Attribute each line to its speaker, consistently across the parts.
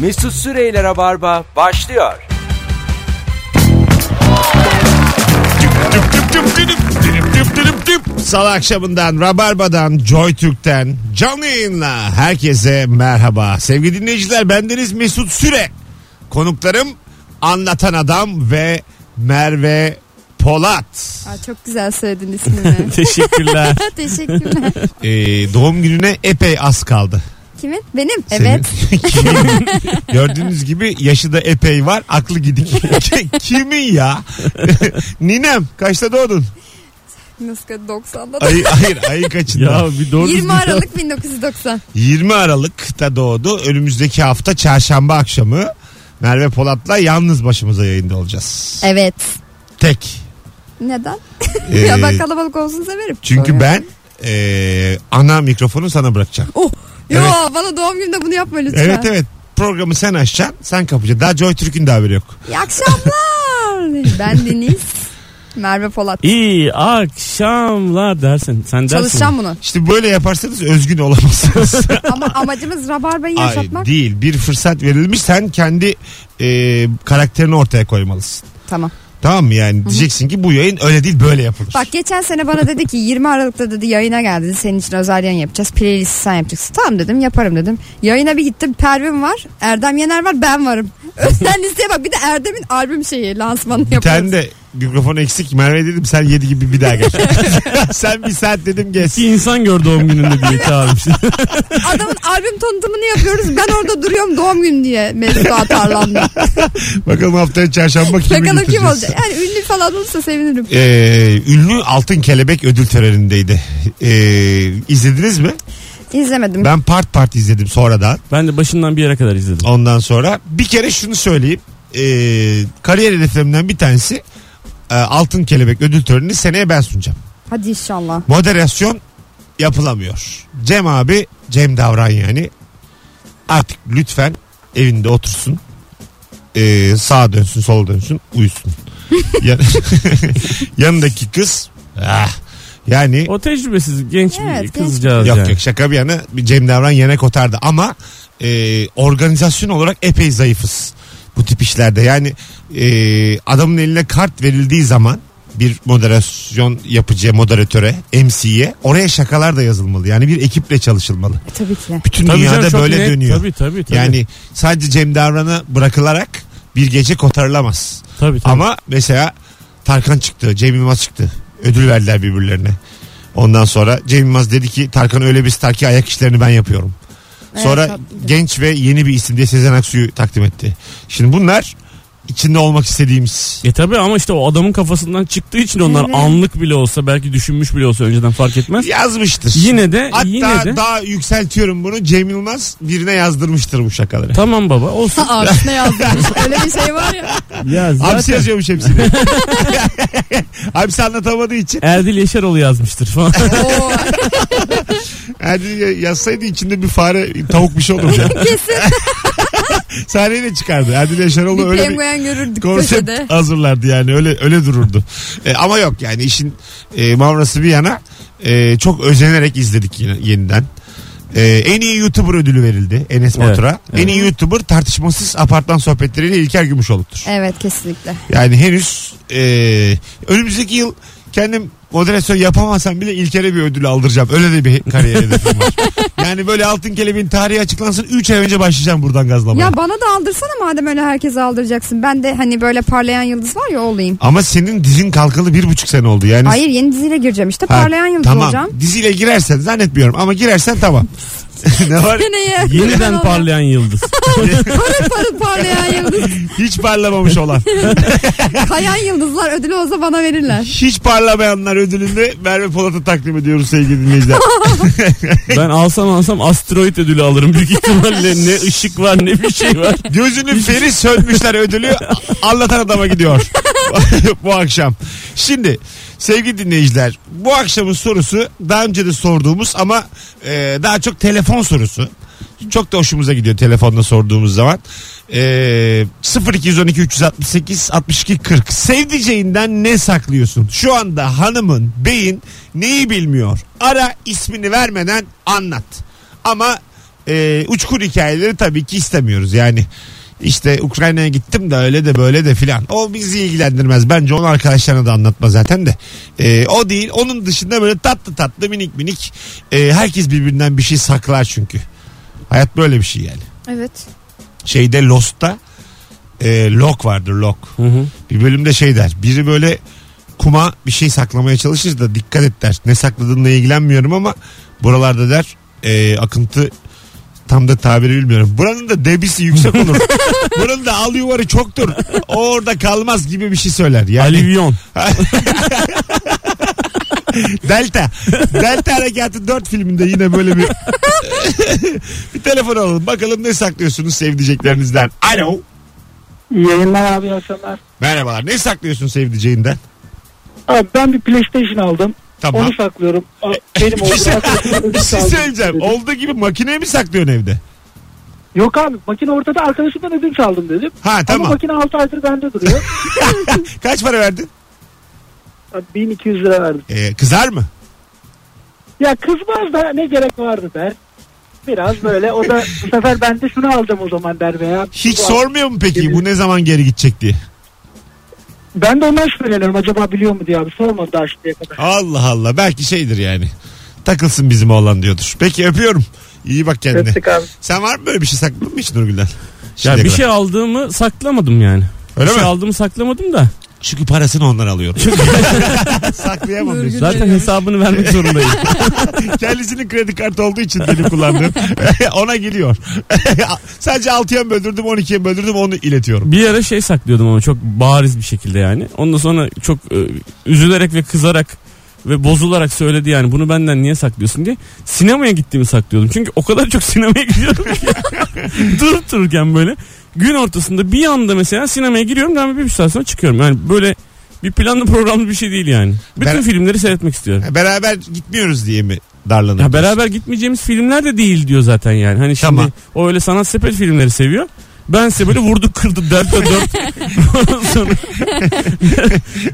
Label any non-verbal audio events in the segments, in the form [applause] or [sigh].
Speaker 1: Mesut Süreyler'e barba başlıyor.
Speaker 2: Salı akşamından, Rabarba'dan, Joy Türk'ten, canlı yayınla herkese merhaba. Sevgili dinleyiciler bendeniz Mesut Süre. Konuklarım Anlatan Adam ve Merve Polat.
Speaker 3: Aa, çok güzel
Speaker 2: [laughs]
Speaker 3: söyledin ismini.
Speaker 2: Teşekkürler.
Speaker 3: Teşekkürler.
Speaker 2: Ee, doğum gününe epey az kaldı.
Speaker 3: Kimin? Benim.
Speaker 2: Senin.
Speaker 3: Evet.
Speaker 2: Kimin? Gördüğünüz gibi yaşı da epey var. Aklı gidik. Kimin ya? [laughs] Ninem kaçta doğdun?
Speaker 3: Nuska 90'da da.
Speaker 2: Ay, hayır ayın kaçında?
Speaker 4: Ya bir doğru
Speaker 3: 20 Aralık 1990.
Speaker 2: 20 Aralık'ta doğdu. Önümüzdeki hafta çarşamba akşamı Merve Polat'la yalnız başımıza yayında olacağız.
Speaker 3: Evet.
Speaker 2: Tek.
Speaker 3: Neden?
Speaker 2: Ee,
Speaker 3: ya ben kalabalık olsun severim.
Speaker 2: çünkü ben e, ana mikrofonu sana bırakacağım.
Speaker 3: Oh. Yo
Speaker 2: Evet.
Speaker 3: bana doğum gününde bunu yapma lütfen.
Speaker 2: Evet evet programı sen açacaksın sen kapacaksın. Daha Joy Türk'ün de haberi yok. [laughs]
Speaker 3: İyi akşamlar. ben Deniz. Merve Polat.
Speaker 4: İyi akşamlar dersin. Sen dersin.
Speaker 3: Çalışacağım bunu.
Speaker 2: İşte böyle yaparsanız özgün
Speaker 3: [laughs]
Speaker 2: olamazsınız.
Speaker 3: Ama amacımız rabarbayı
Speaker 2: Ay,
Speaker 3: yaşatmak.
Speaker 2: değil bir fırsat verilmiş sen kendi e, karakterini ortaya koymalısın.
Speaker 3: tamam.
Speaker 2: Tamam mı yani diyeceksin ki bu yayın öyle değil böyle yapılır.
Speaker 3: Bak geçen sene bana dedi ki 20 Aralık'ta dedi yayına gel dedi senin için özel yayın yapacağız. Playlist sen yapacaksın. Tamam dedim yaparım dedim. Yayına bir gittim Pervin var. Erdem Yener var
Speaker 2: [laughs]
Speaker 3: ben varım. Özel listeye bak bir de Erdem'in albüm şeyi lansmanını
Speaker 2: Bir
Speaker 3: yapıyoruz.
Speaker 2: tane de mikrofon eksik. Merve dedim sen 7 gibi bir daha gel. [laughs] sen bir saat dedim geç.
Speaker 4: İki insan gör doğum gününde bir şey. iki abi.
Speaker 3: [laughs] Adamın albüm tanıtımını yapıyoruz. Ben orada duruyorum doğum günü diye Mesut'a
Speaker 2: [laughs]
Speaker 3: atarlandım.
Speaker 2: Bakalım haftaya çarşamba kimi
Speaker 3: Bakalım kim
Speaker 2: götüreceğiz?
Speaker 3: olacak. Yani ünlü falan
Speaker 2: [laughs]
Speaker 3: olursa sevinirim.
Speaker 2: Ee, ünlü Altın Kelebek ödül törenindeydi. Ee, izlediniz mi?
Speaker 3: İzlemedim.
Speaker 2: Ben part part izledim sonradan.
Speaker 4: Ben de başından bir yere kadar izledim.
Speaker 2: Ondan sonra bir kere şunu söyleyeyim. Ee, kariyer hedeflerimden bir tanesi e, Altın Kelebek ödül törenini seneye ben sunacağım.
Speaker 3: Hadi inşallah.
Speaker 2: Moderasyon yapılamıyor. Cem abi, Cem Davran yani. Artık lütfen evinde otursun. Ee, sağa dönsün, sola dönsün, uyusun. Ya- [laughs] Yanındaki kız ah, yani
Speaker 4: O tecrübesiz genç
Speaker 3: Evet,
Speaker 4: bir
Speaker 3: genç.
Speaker 4: kızcağız
Speaker 2: yok
Speaker 4: yani.
Speaker 2: yok şaka bir yana bir Cem Davran yene kotardı ama e, organizasyon olarak epey zayıfız bu tip işlerde. Yani e, adamın eline kart verildiği zaman bir moderasyon yapıcıya, moderatöre, MC'ye oraya şakalar da yazılmalı. Yani bir ekiple çalışılmalı.
Speaker 3: E, tabii ki.
Speaker 2: Bütün
Speaker 4: Tabii canım,
Speaker 2: dünyada
Speaker 4: çok
Speaker 2: böyle
Speaker 4: net.
Speaker 2: dönüyor.
Speaker 4: Tabii tabii. tabii.
Speaker 2: Yani sadece Cem Davran'a bırakılarak bir gece kotarılamaz.
Speaker 4: tabii, tabii.
Speaker 2: Ama mesela Tarkan çıktı, Cem Yılmaz çıktı. Ödül verdiler birbirlerine. Ondan sonra Cem Yılmaz dedi ki Tarkan öyle bir star ki ayak işlerini ben yapıyorum.
Speaker 3: Evet,
Speaker 2: Sonra
Speaker 3: tabii.
Speaker 2: genç ve yeni bir isim diye Sezen Aksu'yu takdim etti. Şimdi bunlar içinde olmak istediğimiz.
Speaker 4: E tabi ama işte o adamın kafasından çıktığı için onlar
Speaker 3: Evet.
Speaker 4: anlık bile olsa belki düşünmüş bile olsa önceden fark etmez.
Speaker 2: Yazmıştır.
Speaker 4: Yine de
Speaker 2: Hatta
Speaker 4: yine de
Speaker 2: daha yükseltiyorum bunu Cem Yılmaz birine yazdırmıştır bu şakaları.
Speaker 4: tamam baba olsun.
Speaker 3: Arif
Speaker 2: [laughs]
Speaker 3: ne yazdı? Öyle bir şey var ya.
Speaker 4: ya
Speaker 2: Abisi
Speaker 4: zaten
Speaker 2: yazıyormuş
Speaker 4: [laughs]
Speaker 2: hepsini. Abisi anlatamadığı için.
Speaker 4: Erdil Yaşaroğlu
Speaker 3: [laughs]
Speaker 4: yazmıştır falan.
Speaker 3: Oo.
Speaker 2: [laughs] Erdil yazsaydı içinde bir fare tavuk bir şey olurdu.
Speaker 3: Kesin.
Speaker 2: Sahneye de çıkardı. Erdil Yaşaroğlu
Speaker 3: Bir
Speaker 2: öyle bir
Speaker 3: penguen görürdük
Speaker 2: konsept
Speaker 3: köşede.
Speaker 2: hazırlardı yani öyle öyle dururdu. E, ama yok yani işin e, mavrası bir yana e, çok özenerek izledik yine, yeniden. E, en iyi YouTuber ödülü verildi Enes
Speaker 4: Evet,
Speaker 2: Batur'a. En
Speaker 4: evet.
Speaker 2: iyi YouTuber tartışmasız apartman sohbetleriyle İlker Gümüşoluk'tur.
Speaker 3: Evet kesinlikle.
Speaker 2: Yani henüz e, önümüzdeki yıl kendim moderasyon yapamasam bile İlker'e bir ödül aldıracağım. Öyle de bir kariyer hedefim
Speaker 3: [laughs]
Speaker 2: var. Yani böyle altın kelebeğin tarihi açıklansın 3 ay önce başlayacağım buradan gazlamaya.
Speaker 3: Ya bana da aldırsana madem öyle herkese aldıracaksın. Ben de hani böyle parlayan yıldız var ya o olayım.
Speaker 2: Ama senin dizin kalkalı bir buçuk sene oldu yani.
Speaker 3: Hayır yeni diziyle gireceğim işte
Speaker 2: Ha,
Speaker 3: parlayan yıldız
Speaker 2: tamam.
Speaker 3: olacağım.
Speaker 2: Diziyle girersen zannetmiyorum ama girersen
Speaker 3: [laughs]
Speaker 2: tamam. ne var?
Speaker 3: Gene ya.
Speaker 4: Yeniden
Speaker 3: [laughs]
Speaker 4: parlayan yıldız.
Speaker 3: Parıl parıl parlayan
Speaker 2: [laughs]
Speaker 3: yıldız.
Speaker 2: Hiç parlamamış olan.
Speaker 3: Kayan yıldızlar ödülü olsa bana verirler.
Speaker 2: Hiç parlamayanlar ödülünde Merve Polat'ı takdim ediyoruz sevgili dinleyiciler.
Speaker 4: [laughs] Ben alsam alsam asteroid ödülü alırım büyük ihtimalle. ne ışık var ne bir şey var.
Speaker 2: Gözünün feri sönmüşler ödülü anlatan adama gidiyor. bu akşam. Şimdi sevgili dinleyiciler bu akşamın sorusu daha önce de sorduğumuz ama e, daha çok telefon sorusu. Çok da hoşumuza gidiyor telefonda sorduğumuz zaman. E, 0212 368 62 40 sevdiceğinden ne saklıyorsun? Şu anda hanımın beyin neyi bilmiyor? Ara ismini vermeden anlat. Ama e, uçkur hikayeleri tabii ki istemiyoruz. Yani işte Ukrayna'ya gittim de öyle de böyle de filan. O bizi ilgilendirmez. Bence onu arkadaşlarına da anlatma zaten de. E, o değil. Onun dışında böyle tatlı tatlı minik minik e, herkes birbirinden bir şey saklar çünkü. Hayat böyle bir şey yani.
Speaker 3: Evet.
Speaker 2: Şeyde Lost'ta e, Lok vardır Lok.
Speaker 4: Hı hı.
Speaker 2: Bir bölümde şey der. Biri böyle kuma bir şey saklamaya çalışır da dikkat et der. Ne sakladığınla ilgilenmiyorum ama buralarda der e, akıntı tam da tabiri bilmiyorum. Buranın da debisi yüksek
Speaker 4: [laughs]
Speaker 2: olur. Buranın da al yuvarı çoktur. O orada kalmaz gibi bir şey söyler. Yani
Speaker 4: Alivyon.
Speaker 2: [laughs] Delta. Delta Harekatı 4 filminde yine böyle bir [laughs] bir telefon alalım. Bakalım ne saklıyorsunuz sevdiceklerinizden. Alo.
Speaker 5: İyi yayınlar abi iyi akşamlar.
Speaker 2: Merhabalar. Ne saklıyorsun sevdiceğinden?
Speaker 5: Abi ben bir PlayStation aldım.
Speaker 2: Tamam. E,
Speaker 5: Onu saklıyorum. A- Benim
Speaker 2: [laughs]
Speaker 5: oldu.
Speaker 2: bir şey söyleyeceğim. Olduğu gibi makineye mi saklıyorsun evde?
Speaker 5: Yok abi makine ortada arkadaşımdan ödünç aldım dedim.
Speaker 2: Ha
Speaker 5: Ama
Speaker 2: tamam.
Speaker 5: makine 6 aydır bende duruyor.
Speaker 2: [laughs] Kaç para verdin?
Speaker 5: Abi 1200 lira verdim.
Speaker 2: Ee, kızar mı?
Speaker 5: Ya kızmaz da ne gerek vardı der. Biraz böyle o da bu sefer ben de şunu aldım o zaman der veya.
Speaker 2: Hiç
Speaker 5: Bu-
Speaker 2: sormuyor mu peki
Speaker 5: Gelir.
Speaker 2: bu ne zaman geri gidecek diye?
Speaker 5: Ben de ondan şüpheleniyorum acaba biliyor mu diye abi sormadı daha şimdiye kadar.
Speaker 2: Allah Allah belki şeydir yani. Takılsın bizim oğlan diyordur. Peki öpüyorum. İyi bak kendine.
Speaker 5: Öptük abi.
Speaker 2: Sen var mı böyle bir şey sakladın mı hiç Nurgül'den?
Speaker 4: Ya
Speaker 2: Şimdiye
Speaker 4: bir
Speaker 2: kadar.
Speaker 4: şey aldığımı saklamadım yani.
Speaker 2: Öyle
Speaker 4: bir
Speaker 2: mi?
Speaker 4: şey aldığımı saklamadım da.
Speaker 2: Çünkü parasını ondan alıyorum. [laughs] Saklayamam. diyorsun.
Speaker 4: Zaten hesabını vermek zorundayım.
Speaker 2: Kendisinin kredi kartı olduğu için benim kullandığım. [laughs] Ona geliyor. [laughs] Sadece 6'ya böldürdüm 12'ye böldürdüm onu iletiyorum.
Speaker 4: bir ara şey saklıyordum ama çok bariz bir şekilde yani. Ondan sonra çok e, üzülerek ve kızarak ve bozularak söyledi yani bunu benden niye saklıyorsun diye. Sinemaya gittiğimi saklıyordum. Çünkü o kadar çok [laughs] sinemaya gidiyordum ki. [laughs] Durup dururken böyle gün ortasında bir anda mesela sinemaya giriyorum ben bir saat sonra çıkıyorum. Yani böyle bir planlı programlı bir şey değil yani. Bütün
Speaker 2: Ben-
Speaker 4: filmleri seyretmek istiyorum.
Speaker 2: Beraber gitmiyoruz diye mi darlanıyorsun?
Speaker 4: Ya beraber gitmeyeceğimiz filmler de değil diyor zaten yani. Hani şimdi
Speaker 2: Tamam.
Speaker 4: o öyle sanat sepet filmleri seviyor. Ben size böyle vurdu kırdı delta [laughs] dört. Ondan sonra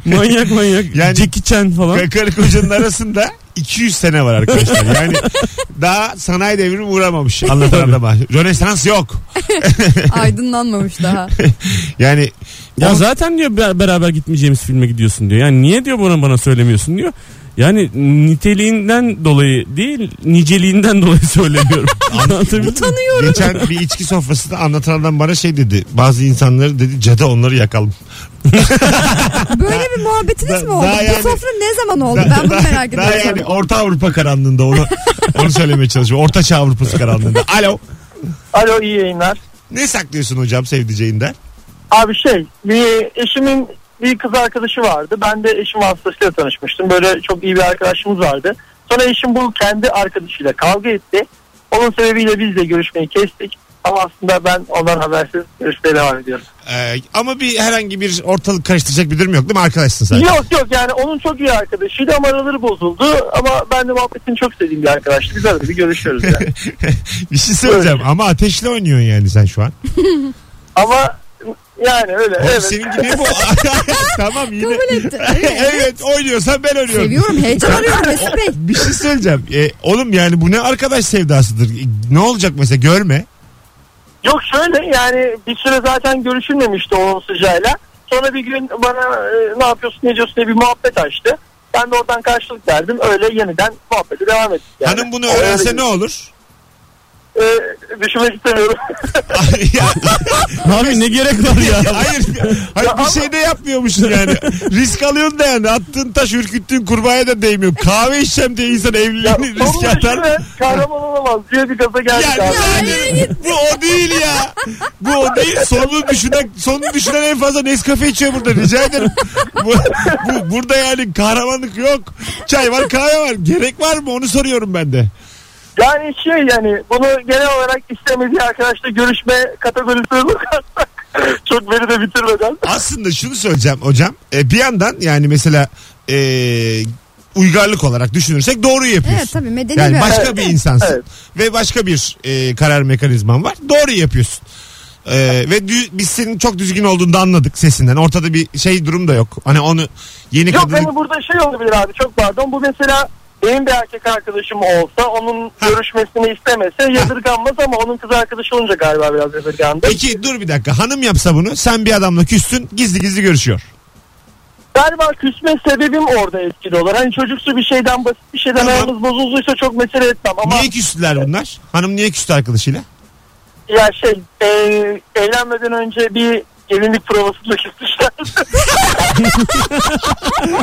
Speaker 4: manyak manyak.
Speaker 2: Yani-
Speaker 4: Jackie Chan falan.
Speaker 2: Ka- Karı kocanın arasında 200 sene var arkadaşlar. Yani daha sanayi devrimi uğramamış anlatan adama. Rönesans yok. [laughs]
Speaker 3: Aydınlanmamış daha.
Speaker 2: Yani
Speaker 4: Ya
Speaker 2: Ama-
Speaker 4: zaten diyor be- beraber gitmeyeceğimiz filme gidiyorsun diyor. Yani niye diyor bana bana söylemiyorsun diyor. Yani niteliğinden dolayı değil niceliğinden dolayı [laughs] söylemiyorum. Anlatabildim mi?
Speaker 2: geçen bir içki sofrasında anlatan adam bana şey dedi. Bazı insanları dedi cadı onları yakalım.
Speaker 3: Böyle bir muhabbetiniz
Speaker 2: Da-
Speaker 3: mi oldu?
Speaker 2: daha yani-
Speaker 3: Bu sofra ne zaman oldu?
Speaker 2: Da-
Speaker 3: ben bunu
Speaker 2: da-
Speaker 3: merak
Speaker 2: daha
Speaker 3: ediyorum.
Speaker 2: yani Orta Avrupa karanlığında
Speaker 3: [laughs]
Speaker 2: onu, onu söylemeye çalışıyorum. Orta Çağ Avrupası karanlığında. Alo.
Speaker 6: Alo iyi yayınlar.
Speaker 2: Ne saklıyorsun hocam sevdiceğinden?
Speaker 6: Abi şey bir eşimin bir kız arkadaşı vardı. Ben de eşim vasıtasıyla tanışmıştım. Böyle çok iyi bir arkadaşımız vardı. Sonra eşim bu kendi arkadaşıyla kavga etti. Onun sebebiyle biz de görüşmeyi kestik. Ama aslında ben ondan habersiz görüşmeye devam ediyorum.
Speaker 2: Ee, ama bir herhangi bir ortalık karıştıracak bir durum yok değil mi? Arkadaşsın sen.
Speaker 6: Yok yok yani onun çok iyi arkadaşıydı ama araları bozuldu. Ama ben de muhabbetini çok sevdiğim bir arkadaştı. Biz arada bir
Speaker 2: [laughs]
Speaker 6: görüşüyoruz yani.
Speaker 2: [laughs] bir şey söyleyeceğim ama ateşle oynuyorsun yani sen şu an.
Speaker 6: ama yani öyle
Speaker 2: Oğlum
Speaker 6: evet.
Speaker 2: seninki ne bu? [laughs] tamam yine.
Speaker 3: Kabul etti.
Speaker 2: [laughs] evet oynuyorsan ben oynuyorum.
Speaker 3: Seviyorum. Heyecan arıyorum Mesut Bey.
Speaker 2: Bir şey söyleyeceğim. E, oğlum yani bu ne arkadaş sevdasıdır? E, Ne olacak mesela görme.
Speaker 6: Yok şöyle yani bir süre zaten görüşülmemişti onun sıcağıyla. Sonra bir gün bana e, ne yapıyorsun ne diyorsun diye bir muhabbet açtı. Ben de oradan karşılık verdim. Öyle yeniden muhabbete devam ettik. Yani.
Speaker 2: Hanım bunu öğrense ne olur? [laughs]
Speaker 6: E, düşünmek istemiyorum.
Speaker 2: Ya,
Speaker 4: Abi ne gerek var ya?
Speaker 2: hayır. Hayır bir
Speaker 6: ama-
Speaker 2: şey de yapmıyormuşsun yani. Risk alıyorsun da yani. Attığın taş ürküttüğün kurbağaya da değmiyor. Kahve içeceğim diye insan
Speaker 6: Ya,
Speaker 2: evliliğini riske
Speaker 6: sonunda
Speaker 2: atar.
Speaker 6: şöyle kahraman olamaz diye bir gaza
Speaker 2: Ya,
Speaker 6: geldik abi.
Speaker 2: yani bu o değil ya. Bu o değil. Sonunu düşünen, sonunu düşünen en fazla Nescafe içiyor burada. Rica ederim. Bu, bu, burada yani kahramanlık yok. Çay var kahve var. Gerek var mı onu soruyorum ben de.
Speaker 6: Yani şey yani bunu genel olarak istemediği arkadaşla görüşme kategorisine [laughs] bakarsak çok beni de bitirmeden.
Speaker 2: aslında şunu söyleyeceğim hocam. E, bir yandan yani mesela e, uygarlık olarak düşünürsek doğru yapıyorsun.
Speaker 3: Evet tabii medeni
Speaker 2: Yani
Speaker 3: bir
Speaker 2: başka
Speaker 6: Evet.
Speaker 2: bir insansın
Speaker 6: Evet.
Speaker 2: ve başka bir e, karar mekanizman var. Doğru yapıyorsun. E, ve dü- biz senin çok düzgün olduğunu da anladık sesinden. Ortada bir şey durum da yok. Hani onu yeni
Speaker 6: Yok
Speaker 2: kadını
Speaker 6: hani burada şey olabilir abi çok pardon. Bu mesela Benim bir erkek arkadaşım olsa onun görüşmesini istemese yadırganmaz ama onun kız arkadaşı olunca galiba biraz yadırgandı.
Speaker 2: Peki dur bir dakika hanım yapsa bunu sen bir adamla küstün gizli gizli görüşüyor.
Speaker 6: Galiba küsme sebebim orada etkili olur. Hani çocuksu bir şeyden basit bir şeyden
Speaker 2: Tamam.
Speaker 6: aramız bozulduysa çok mesele etmem ama
Speaker 2: Niye küstüler bunlar? Hanım niye küstü arkadaşıyla? [laughs]
Speaker 6: ya şey e, evlenmeden önce bir gelinlik
Speaker 3: [laughs]
Speaker 6: provasında küstüşler.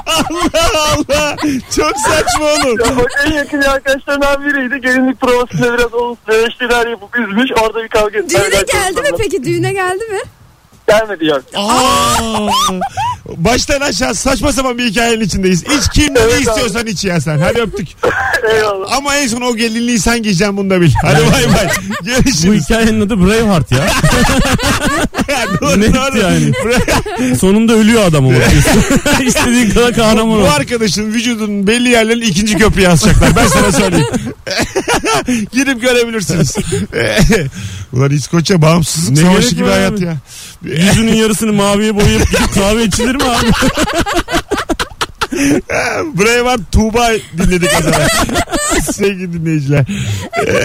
Speaker 2: Allah Allah çok saçma oğlum.
Speaker 6: O en yakın arkadaşlarından biriydi. Gelinlik provasında biraz onun eleştiriler yapıp üzmüş. Orada bir kavga ettiler.
Speaker 3: Düğüne geldi mi peki? Düğüne geldi mi?
Speaker 6: Gelmedi yok.
Speaker 2: Aa. Baştan aşağı saçma sapan bir hikayenin içindeyiz. İç kim ne
Speaker 6: Evet
Speaker 2: istiyorsan iç ya sen. Hadi öptük.
Speaker 6: [laughs] Eyvallah.
Speaker 2: Ama en son o gelinliği sen giyeceksin bunu da bil. Hadi bay bay.
Speaker 4: [laughs] Bu
Speaker 2: Görüşürüz.
Speaker 4: hikayenin adı Braveheart [laughs] ya.
Speaker 2: [laughs] Doğru,
Speaker 4: Net
Speaker 2: doğru.
Speaker 4: yani. Sonunda ölüyor adam ama. [laughs] İstediğin kadar kahraman ol.
Speaker 2: Bu arkadaşın vücudunun belli yerlerinin ikinci köprüye asacaklar. Ben sana söyleyeyim. [laughs] Gidip görebilirsiniz. [laughs] Ulan İskoçya bağımsız
Speaker 4: Ne
Speaker 2: savaşı
Speaker 4: gerek
Speaker 2: gibi
Speaker 4: var
Speaker 2: hayat
Speaker 4: abi?
Speaker 2: ya.
Speaker 4: Yüzünün yarısını maviye boyayıp gidip kahve içilir mi abi?
Speaker 2: Buraya var Tuğba dinledik az
Speaker 3: [laughs]
Speaker 2: evvel. Sevgili dinleyiciler. Ee,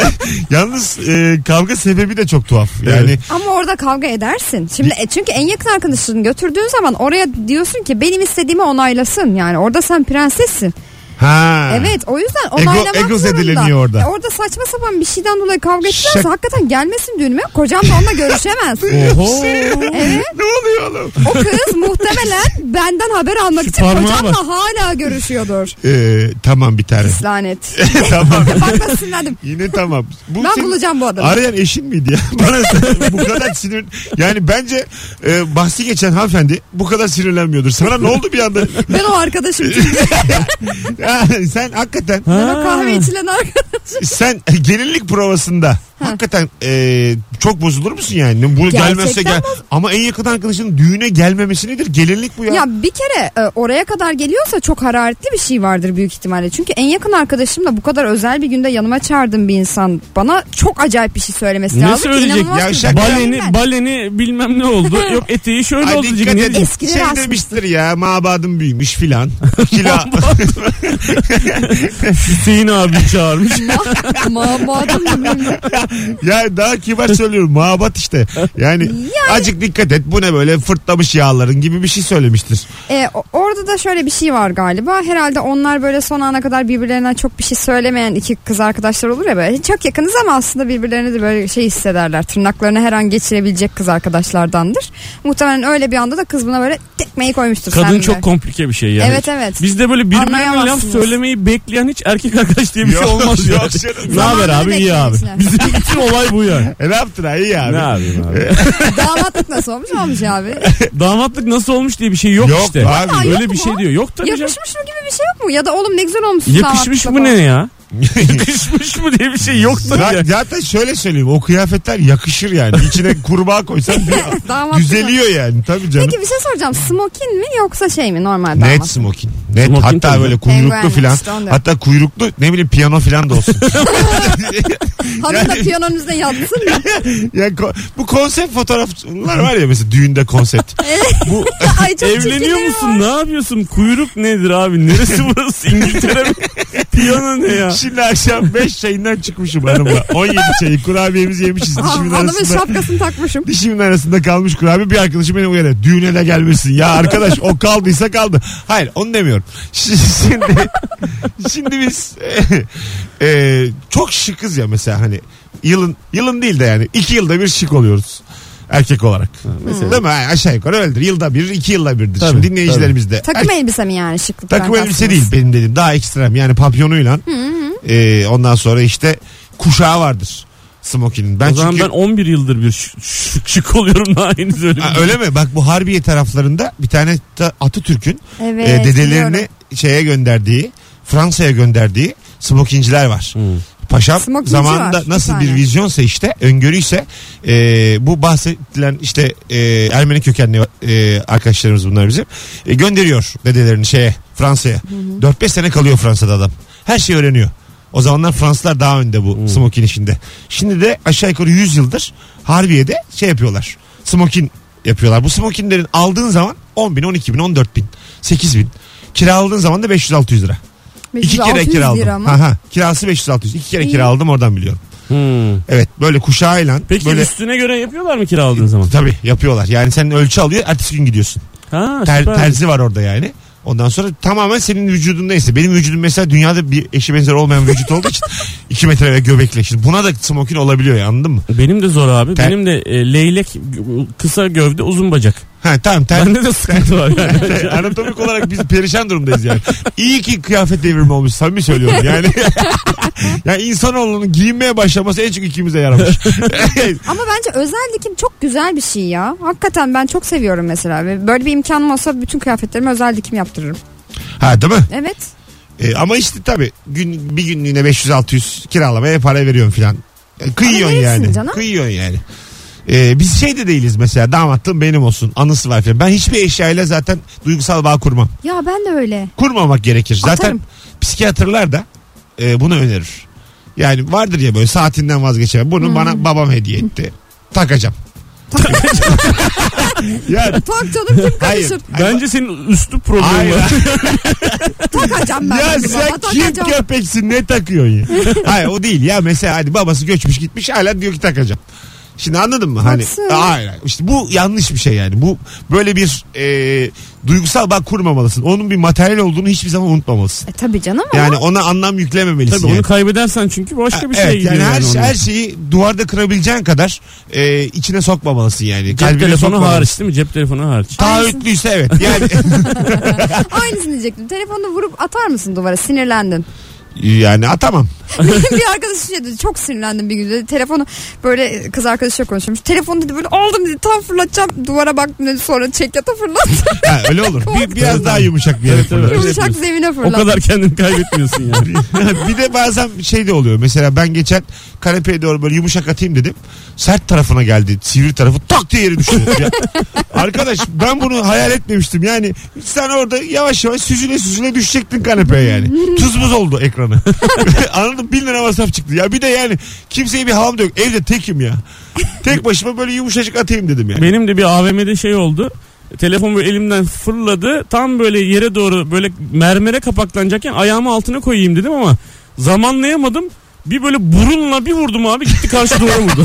Speaker 2: Yalnız e, kavga sebebi de çok tuhaf. Yani
Speaker 3: Ama orada kavga edersin. Şimdi e, çünkü en yakın arkadaşını götürdüğün zaman oraya diyorsun ki benim istediğimi onaylasın. Yani orada sen prensessin.
Speaker 2: ha.
Speaker 3: Evet o yüzden onaylamak
Speaker 2: ego
Speaker 3: zorunda.
Speaker 2: zedeleniyor orada.
Speaker 3: E, orada saçma sapan bir şeyden dolayı kavga ettilerse
Speaker 2: Şak-
Speaker 3: hakikaten gelmesin düğünüme. Kocam da onunla görüşemez. [laughs]
Speaker 4: Oho.
Speaker 3: evet
Speaker 2: Ne oluyor oğlum?
Speaker 3: o kız muhtemelen benden haber almak için
Speaker 4: parmağa
Speaker 3: kocamla hala görüşüyordur.
Speaker 2: Ee, tamam bir tane.
Speaker 3: Lanet.
Speaker 2: [laughs] tamam.
Speaker 3: Bakma sinirlendim.
Speaker 2: Yine tamam. Bu
Speaker 3: Ben
Speaker 2: senin-
Speaker 3: bulacağım bu adamı.
Speaker 2: Arayan eşin miydi ya? [laughs] Bana sen- bu kadar sinir. Yani bence e, bahsi geçen hanımefendi bu kadar sinirlenmiyordur. Sana ne oldu bir anda? [laughs]
Speaker 3: Ben o arkadaşım çünkü.
Speaker 2: Ha, sen hakikaten
Speaker 3: Ben o kahve içilen arkadaşım.
Speaker 2: sen [laughs] gelinlik provasında hakikaten e, çok bozulur musun yani? Bu
Speaker 3: Gerçekten
Speaker 2: gelmezse gel. Ama en yakın arkadaşının düğüne gelmemesi nedir? Gelinlik bu ya.
Speaker 3: Ya bir kere e, oraya kadar geliyorsa çok hararetli bir şey vardır büyük ihtimalle. Çünkü en yakın arkadaşımla bu kadar özel bir günde yanıma çağırdığım bir insan bana çok acayip bir şey söylemesi
Speaker 4: Ne
Speaker 3: lazım. ki
Speaker 4: söyleyecek?
Speaker 3: inanılmaz
Speaker 2: Yavşak.
Speaker 3: bir-
Speaker 4: Baleni,
Speaker 3: Ben-
Speaker 4: baleni bilmem ne oldu.
Speaker 3: [laughs]
Speaker 4: Yok eteği şöyle
Speaker 2: Ay
Speaker 4: oldu.
Speaker 2: dikkat
Speaker 4: Ne
Speaker 2: edin.
Speaker 4: diyeyim?
Speaker 3: Eskileri
Speaker 2: şey
Speaker 3: asmışsın.
Speaker 2: demiştir ya mabadım büyümüş filan. Kila.
Speaker 4: Hüseyin abi çağırmış.
Speaker 3: Ma-
Speaker 4: [laughs]
Speaker 3: madem
Speaker 2: [laughs] ya daha kibar söylüyorum mabat işte. Yani, acık dikkat et bu ne böyle fırtlamış yağların gibi bir şey söylemiştir.
Speaker 3: E, o- orada da şöyle bir şey var galiba. Herhalde onlar böyle son ana kadar birbirlerine çok bir şey söylemeyen iki kız arkadaşlar olur ya böyle. Çok yakınız ama aslında birbirlerini de böyle şey hissederler. Tırnaklarını her an geçirebilecek kız arkadaşlardandır. Muhtemelen öyle bir anda da kız buna böyle tekmeyi koymuştur. sen
Speaker 4: Kadın
Speaker 3: de.
Speaker 4: çok komplike bir şey yani.
Speaker 3: Evet, evet.
Speaker 4: Bizde böyle birbirine laf
Speaker 3: Anlayamazsınız.
Speaker 4: söylemeyi bekleyen hiç erkek arkadaş diye bir şey
Speaker 2: Yok,
Speaker 4: olmaz ya.
Speaker 2: yok canım.
Speaker 4: Ne haber abi? İyi
Speaker 3: Zamanını
Speaker 4: abi.
Speaker 3: bekleyin
Speaker 4: Bizim bütün olay bu yani.
Speaker 2: E ne yaptın ha iyi abi.
Speaker 4: Ne yapayım
Speaker 2: [laughs]
Speaker 4: abi?
Speaker 3: Damatlık nasıl olmuş olmuş abi.
Speaker 4: Damatlık nasıl olmuş diye bir şey yok,
Speaker 2: Yok
Speaker 4: işte.
Speaker 2: abi.
Speaker 3: Vallahi
Speaker 4: Öyle
Speaker 3: yok
Speaker 4: bir
Speaker 3: mu?
Speaker 4: şey diyor. Yok tabii canım.
Speaker 3: Yakışmış mı gibi bir şey yok mu? Ya da oğlum ne güzel olmuşsun
Speaker 4: Yakışmış
Speaker 3: damatlıkta
Speaker 4: mı ne
Speaker 3: falan.
Speaker 4: ya?
Speaker 2: [laughs]
Speaker 4: Yakışmış mı diye bir şey yok tabii
Speaker 2: Zaten,
Speaker 4: ya.
Speaker 2: zaten şöyle söyleyeyim o kıyafetler yakışır yani. İçine kurbağa koysan bir-
Speaker 3: Damatlık
Speaker 2: düzeliyor yani tabii canım.
Speaker 3: Peki bir şey soracağım. Smokin mi yoksa şey mi normal damat?
Speaker 2: Net smokin. Net
Speaker 4: Smokin
Speaker 2: hatta
Speaker 4: tabii.
Speaker 2: böyle
Speaker 3: Penguin,
Speaker 2: kuyruklu filan.
Speaker 3: işte onlar.
Speaker 2: Hatta kuyruklu ne bileyim piyano filan da olsun.
Speaker 3: Hanım da
Speaker 2: Yani-
Speaker 3: piyanonun üzerine yatsın
Speaker 2: [laughs]
Speaker 3: mı?
Speaker 2: ya ko- bu konsept fotoğraflar var ya mesela düğünde
Speaker 3: [laughs]
Speaker 2: konsept. bu [laughs]
Speaker 3: Ay çok
Speaker 4: Evleniyor
Speaker 3: çirkinleri
Speaker 4: musun?
Speaker 3: var.
Speaker 4: Ne yapıyorsun? Kuyruk nedir abi? Neresi [laughs] burası? İngiltere mi? Piyano ne ya?
Speaker 2: Şimdi akşam 5 çayından çıkmışım hanımla. 17 çayı kurabiyemizi yemişiz.
Speaker 3: Ha,
Speaker 2: Dişimin
Speaker 3: Adamın
Speaker 2: arasında,
Speaker 3: şapkasını takmışım.
Speaker 2: dişimin arasında kalmış kurabiye. Bir arkadaşım beni uyarıyor. Düğüne de gelmesin. Ya arkadaş o kaldıysa kaldı. Hayır onu demiyorum. Şi- Şimdi, [laughs] şimdi biz e, e, çok şıkız ya mesela hani yılın yılın değil de yani iki yılda bir şık oluyoruz. Erkek olarak. Değil mi? Ha, Aşağı yukarı öyledir. Yılda bir, iki yılda birdir.
Speaker 4: Tabii,
Speaker 2: şimdi dinleyicilerimiz de.
Speaker 3: Takım elbise mi yani şıklıktan
Speaker 2: Takım elbise
Speaker 3: kastınız?
Speaker 2: değil benim dediğim daha ekstrem yani papyonuyla e, ondan sonra işte kuşağı vardır smokinin. Ben
Speaker 4: O zaman
Speaker 2: çünkü
Speaker 4: ben 11 yıldır bir şık, şık, şık oluyorum daha henüz öyle. bir-
Speaker 2: Ha, öyle mi? Bak bu Harbiye taraflarında bir tane ta- Atatürk'ün
Speaker 3: Evet,
Speaker 2: e, dedelerini
Speaker 3: biliyorum.
Speaker 2: şeye gönderdiği Fransa'ya gönderdiği smokinciler var. Paşam
Speaker 3: Smokinci
Speaker 2: zamanında
Speaker 3: var, bir
Speaker 2: nasıl bir,
Speaker 3: tane.
Speaker 2: vizyonsa işte öngörüyse e, bu bahsedilen işte e, Ermeni kökenli e, arkadaşlarımız bunlar bizim E, gönderiyor dedelerini şeye Fransa'ya. 4-5 sene kalıyor Fransa'da adam. Her şeyi öğreniyor. O zamanlar Fransızlar daha önde bu smokin işinde. Şimdi de aşağı yukarı 100 yıldır Harbiye'de şey yapıyorlar. Smokin yapıyorlar. Bu smokinlerin aldığın zaman 10 bin, 12 bin, 14 bin, 8 bin. Kiraladığın zaman da 500-600 lira. İki
Speaker 3: 500,
Speaker 2: kere
Speaker 3: 600
Speaker 2: kira
Speaker 3: lira
Speaker 2: aldım.
Speaker 3: ama.
Speaker 2: Aha, kirası 500-600. İki kere
Speaker 3: İyi.
Speaker 2: kira aldım oradan biliyorum.
Speaker 4: Hmm.
Speaker 2: Evet böyle kuşağıyla.
Speaker 4: Peki
Speaker 2: böyle...
Speaker 4: üstüne göre yapıyorlar mı kiraladığın zaman?
Speaker 2: Tabii yapıyorlar. Yani sen ölçü alıyor ertesi gün gidiyorsun.
Speaker 4: Ha,
Speaker 2: Ter-
Speaker 4: süper.
Speaker 2: terzi var orada yani. Ondan sonra tamamen senin vücudundaysa. Benim vücudum mesela dünyada bir eşi benzer olmayan vücut olduğu için 2 metre ve göbekli. Şimdi buna da smokin olabiliyor ya anladın mı?
Speaker 4: Benim de zor abi.
Speaker 2: Ter-
Speaker 4: Benim de e, leylek g- kısa gövde uzun bacak.
Speaker 2: Ha tamam ter,
Speaker 4: Bende de sıkıntı var
Speaker 2: [laughs]
Speaker 4: yani.
Speaker 2: ter- anatomik olarak biz perişan durumdayız yani. İyi ki kıyafet devrimi olmuş samimi söylüyorum yani. yani insanoğlunun giyinmeye başlaması en çok ikimize yaramış. [laughs]
Speaker 3: Ama bence özel dikim çok güzel bir şey ya. Hakikaten ben çok seviyorum mesela. Ve Böyle bir imkanım olsa bütün kıyafetlerimi özel dikim yaptırırım.
Speaker 2: ha değil mi?
Speaker 3: Evet.
Speaker 2: E, ama işte tabii gün, bir günlüğüne 500-600 kiralamaya para veriyorsun filan. E, kıyıyorsun
Speaker 3: Ama verirsin
Speaker 2: yani.
Speaker 3: canım.
Speaker 2: Kıyıyorsun yani. E, biz şey de değiliz mesela damatlığım benim olsun anısı var filan. Ben hiçbir eşyayla zaten duygusal bağ kurmam.
Speaker 3: Ya ben de öyle.
Speaker 2: Kurmamak gerekir. Zaten
Speaker 3: Atarım.
Speaker 2: psikiyatrlar da e, bunu önerir. Yani vardır ya böyle saatinden vazgeçemem. Bunu
Speaker 3: Hmm.
Speaker 2: bana babam hediye etti. Takacağım. [laughs] ya
Speaker 3: Tak canım kim
Speaker 2: hayır.
Speaker 3: karışır?
Speaker 4: Bence senin üslup problemi
Speaker 2: Hayır.
Speaker 4: var.
Speaker 3: Takacağım ben.
Speaker 2: Ya
Speaker 3: bunu
Speaker 2: sen
Speaker 3: baba,
Speaker 2: kim
Speaker 3: takacağım.
Speaker 2: köpeksin ne takıyorsun
Speaker 3: [laughs]
Speaker 2: ya? Hayır o değil ya mesela hadi babası göçmüş gitmiş hala diyor ki takacağım. Şimdi anladın mı? Hani
Speaker 3: Haksız.
Speaker 2: hayır, hayır. İşte bu yanlış bir şey yani. Bu böyle bir e, duygusal bağ kurmamalısın. Onun bir materyal olduğunu hiçbir zaman unutmamalısın.
Speaker 3: E, tabii canım ama
Speaker 2: Yani ona anlam yüklememelisin.
Speaker 4: Tabii
Speaker 2: yani.
Speaker 4: onu kaybedersen çünkü başka bir şeye
Speaker 2: evet,
Speaker 4: gidiyor.
Speaker 2: yani her, şey,
Speaker 4: yani onun.
Speaker 2: her şeyi duvarda kırabileceğin kadar e, içine sokmamalısın yani. Kalbine
Speaker 4: Cep telefonu
Speaker 2: sokmamalısın.
Speaker 4: hariç değil mi? Cep telefonu hariç.
Speaker 2: Taahhütlüyse evet. Yani
Speaker 3: [laughs] [laughs]
Speaker 2: [laughs]
Speaker 3: aynısını diyecektim. Telefonunu vurup atar mısın duvara sinirlendin.
Speaker 2: yani atamam.
Speaker 3: [laughs] bir arkadaşım şey dedi çok sinirlendim bir gün dedi. Telefonu böyle kız arkadaşıyla konuşuyormuş. Telefonu dedi böyle aldım dedi tam fırlatacağım. Duvara baktım dedi sonra çekyata fırlattı.
Speaker 2: Ha, öyle olur. Bir, biraz daha yumuşak bir yere
Speaker 4: Evet, evet.
Speaker 2: fırlat.
Speaker 3: [laughs]
Speaker 4: Öyle
Speaker 3: Yumuşak
Speaker 4: yapıyorsun.
Speaker 3: zemine
Speaker 4: O
Speaker 3: fırlattı.
Speaker 4: kadar kendini kaybetmiyorsun
Speaker 2: [laughs]
Speaker 4: yani.
Speaker 2: bir de bazen şey de oluyor. Mesela ben geçen kanepeye doğru böyle yumuşak atayım dedim. Sert tarafına geldi. Sivri tarafı tak diye yere düştü. Ya, arkadaş ben bunu hayal etmemiştim. Yani sen orada yavaş yavaş süzüle süzüle düşecektin kanepeye yani. Tuz buz oldu ekranı. [laughs] Anladın mı? Bin lira masraf çıktı. Ya bir de yani kimseye bir halam da yok. Evde tekim ya. Tek başıma böyle yumuşacık atayım dedim yani.
Speaker 4: Benim de bir AVM'de şey oldu. Telefon böyle elimden fırladı. Tam böyle yere doğru böyle mermere kapaklanacakken ayağımı altına koyayım dedim ama zamanlayamadım. Bir böyle burunla bir vurdum abi gitti karşı duvara vurdu.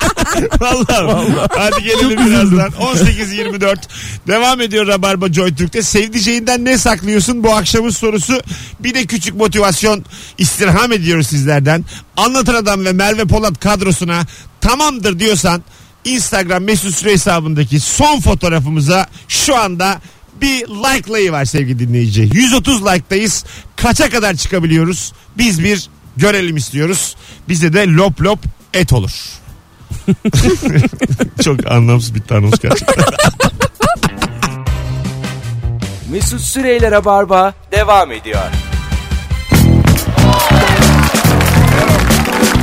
Speaker 2: [laughs] Vallahi. Hadi gelelim birazdan. 18.24. Devam ediyor Rabarba Joy Türk'te. Sevdiceğinden ne saklıyorsun bu akşamın sorusu. Bir de küçük motivasyon istirham ediyoruz sizlerden. Anlatan Adam ve Merve Polat kadrosuna tamamdır diyorsan Instagram mesut süre hesabındaki son fotoğrafımıza şu anda bir like'layı var sevgili dinleyici. 130 like'dayız. Kaça kadar çıkabiliyoruz? Biz bir görelim istiyoruz. Bize de lop lop et olur. Çok anlamsız bir anons gerçekten.
Speaker 1: Mesut Süreyler'e barba devam ediyor.
Speaker 2: [laughs]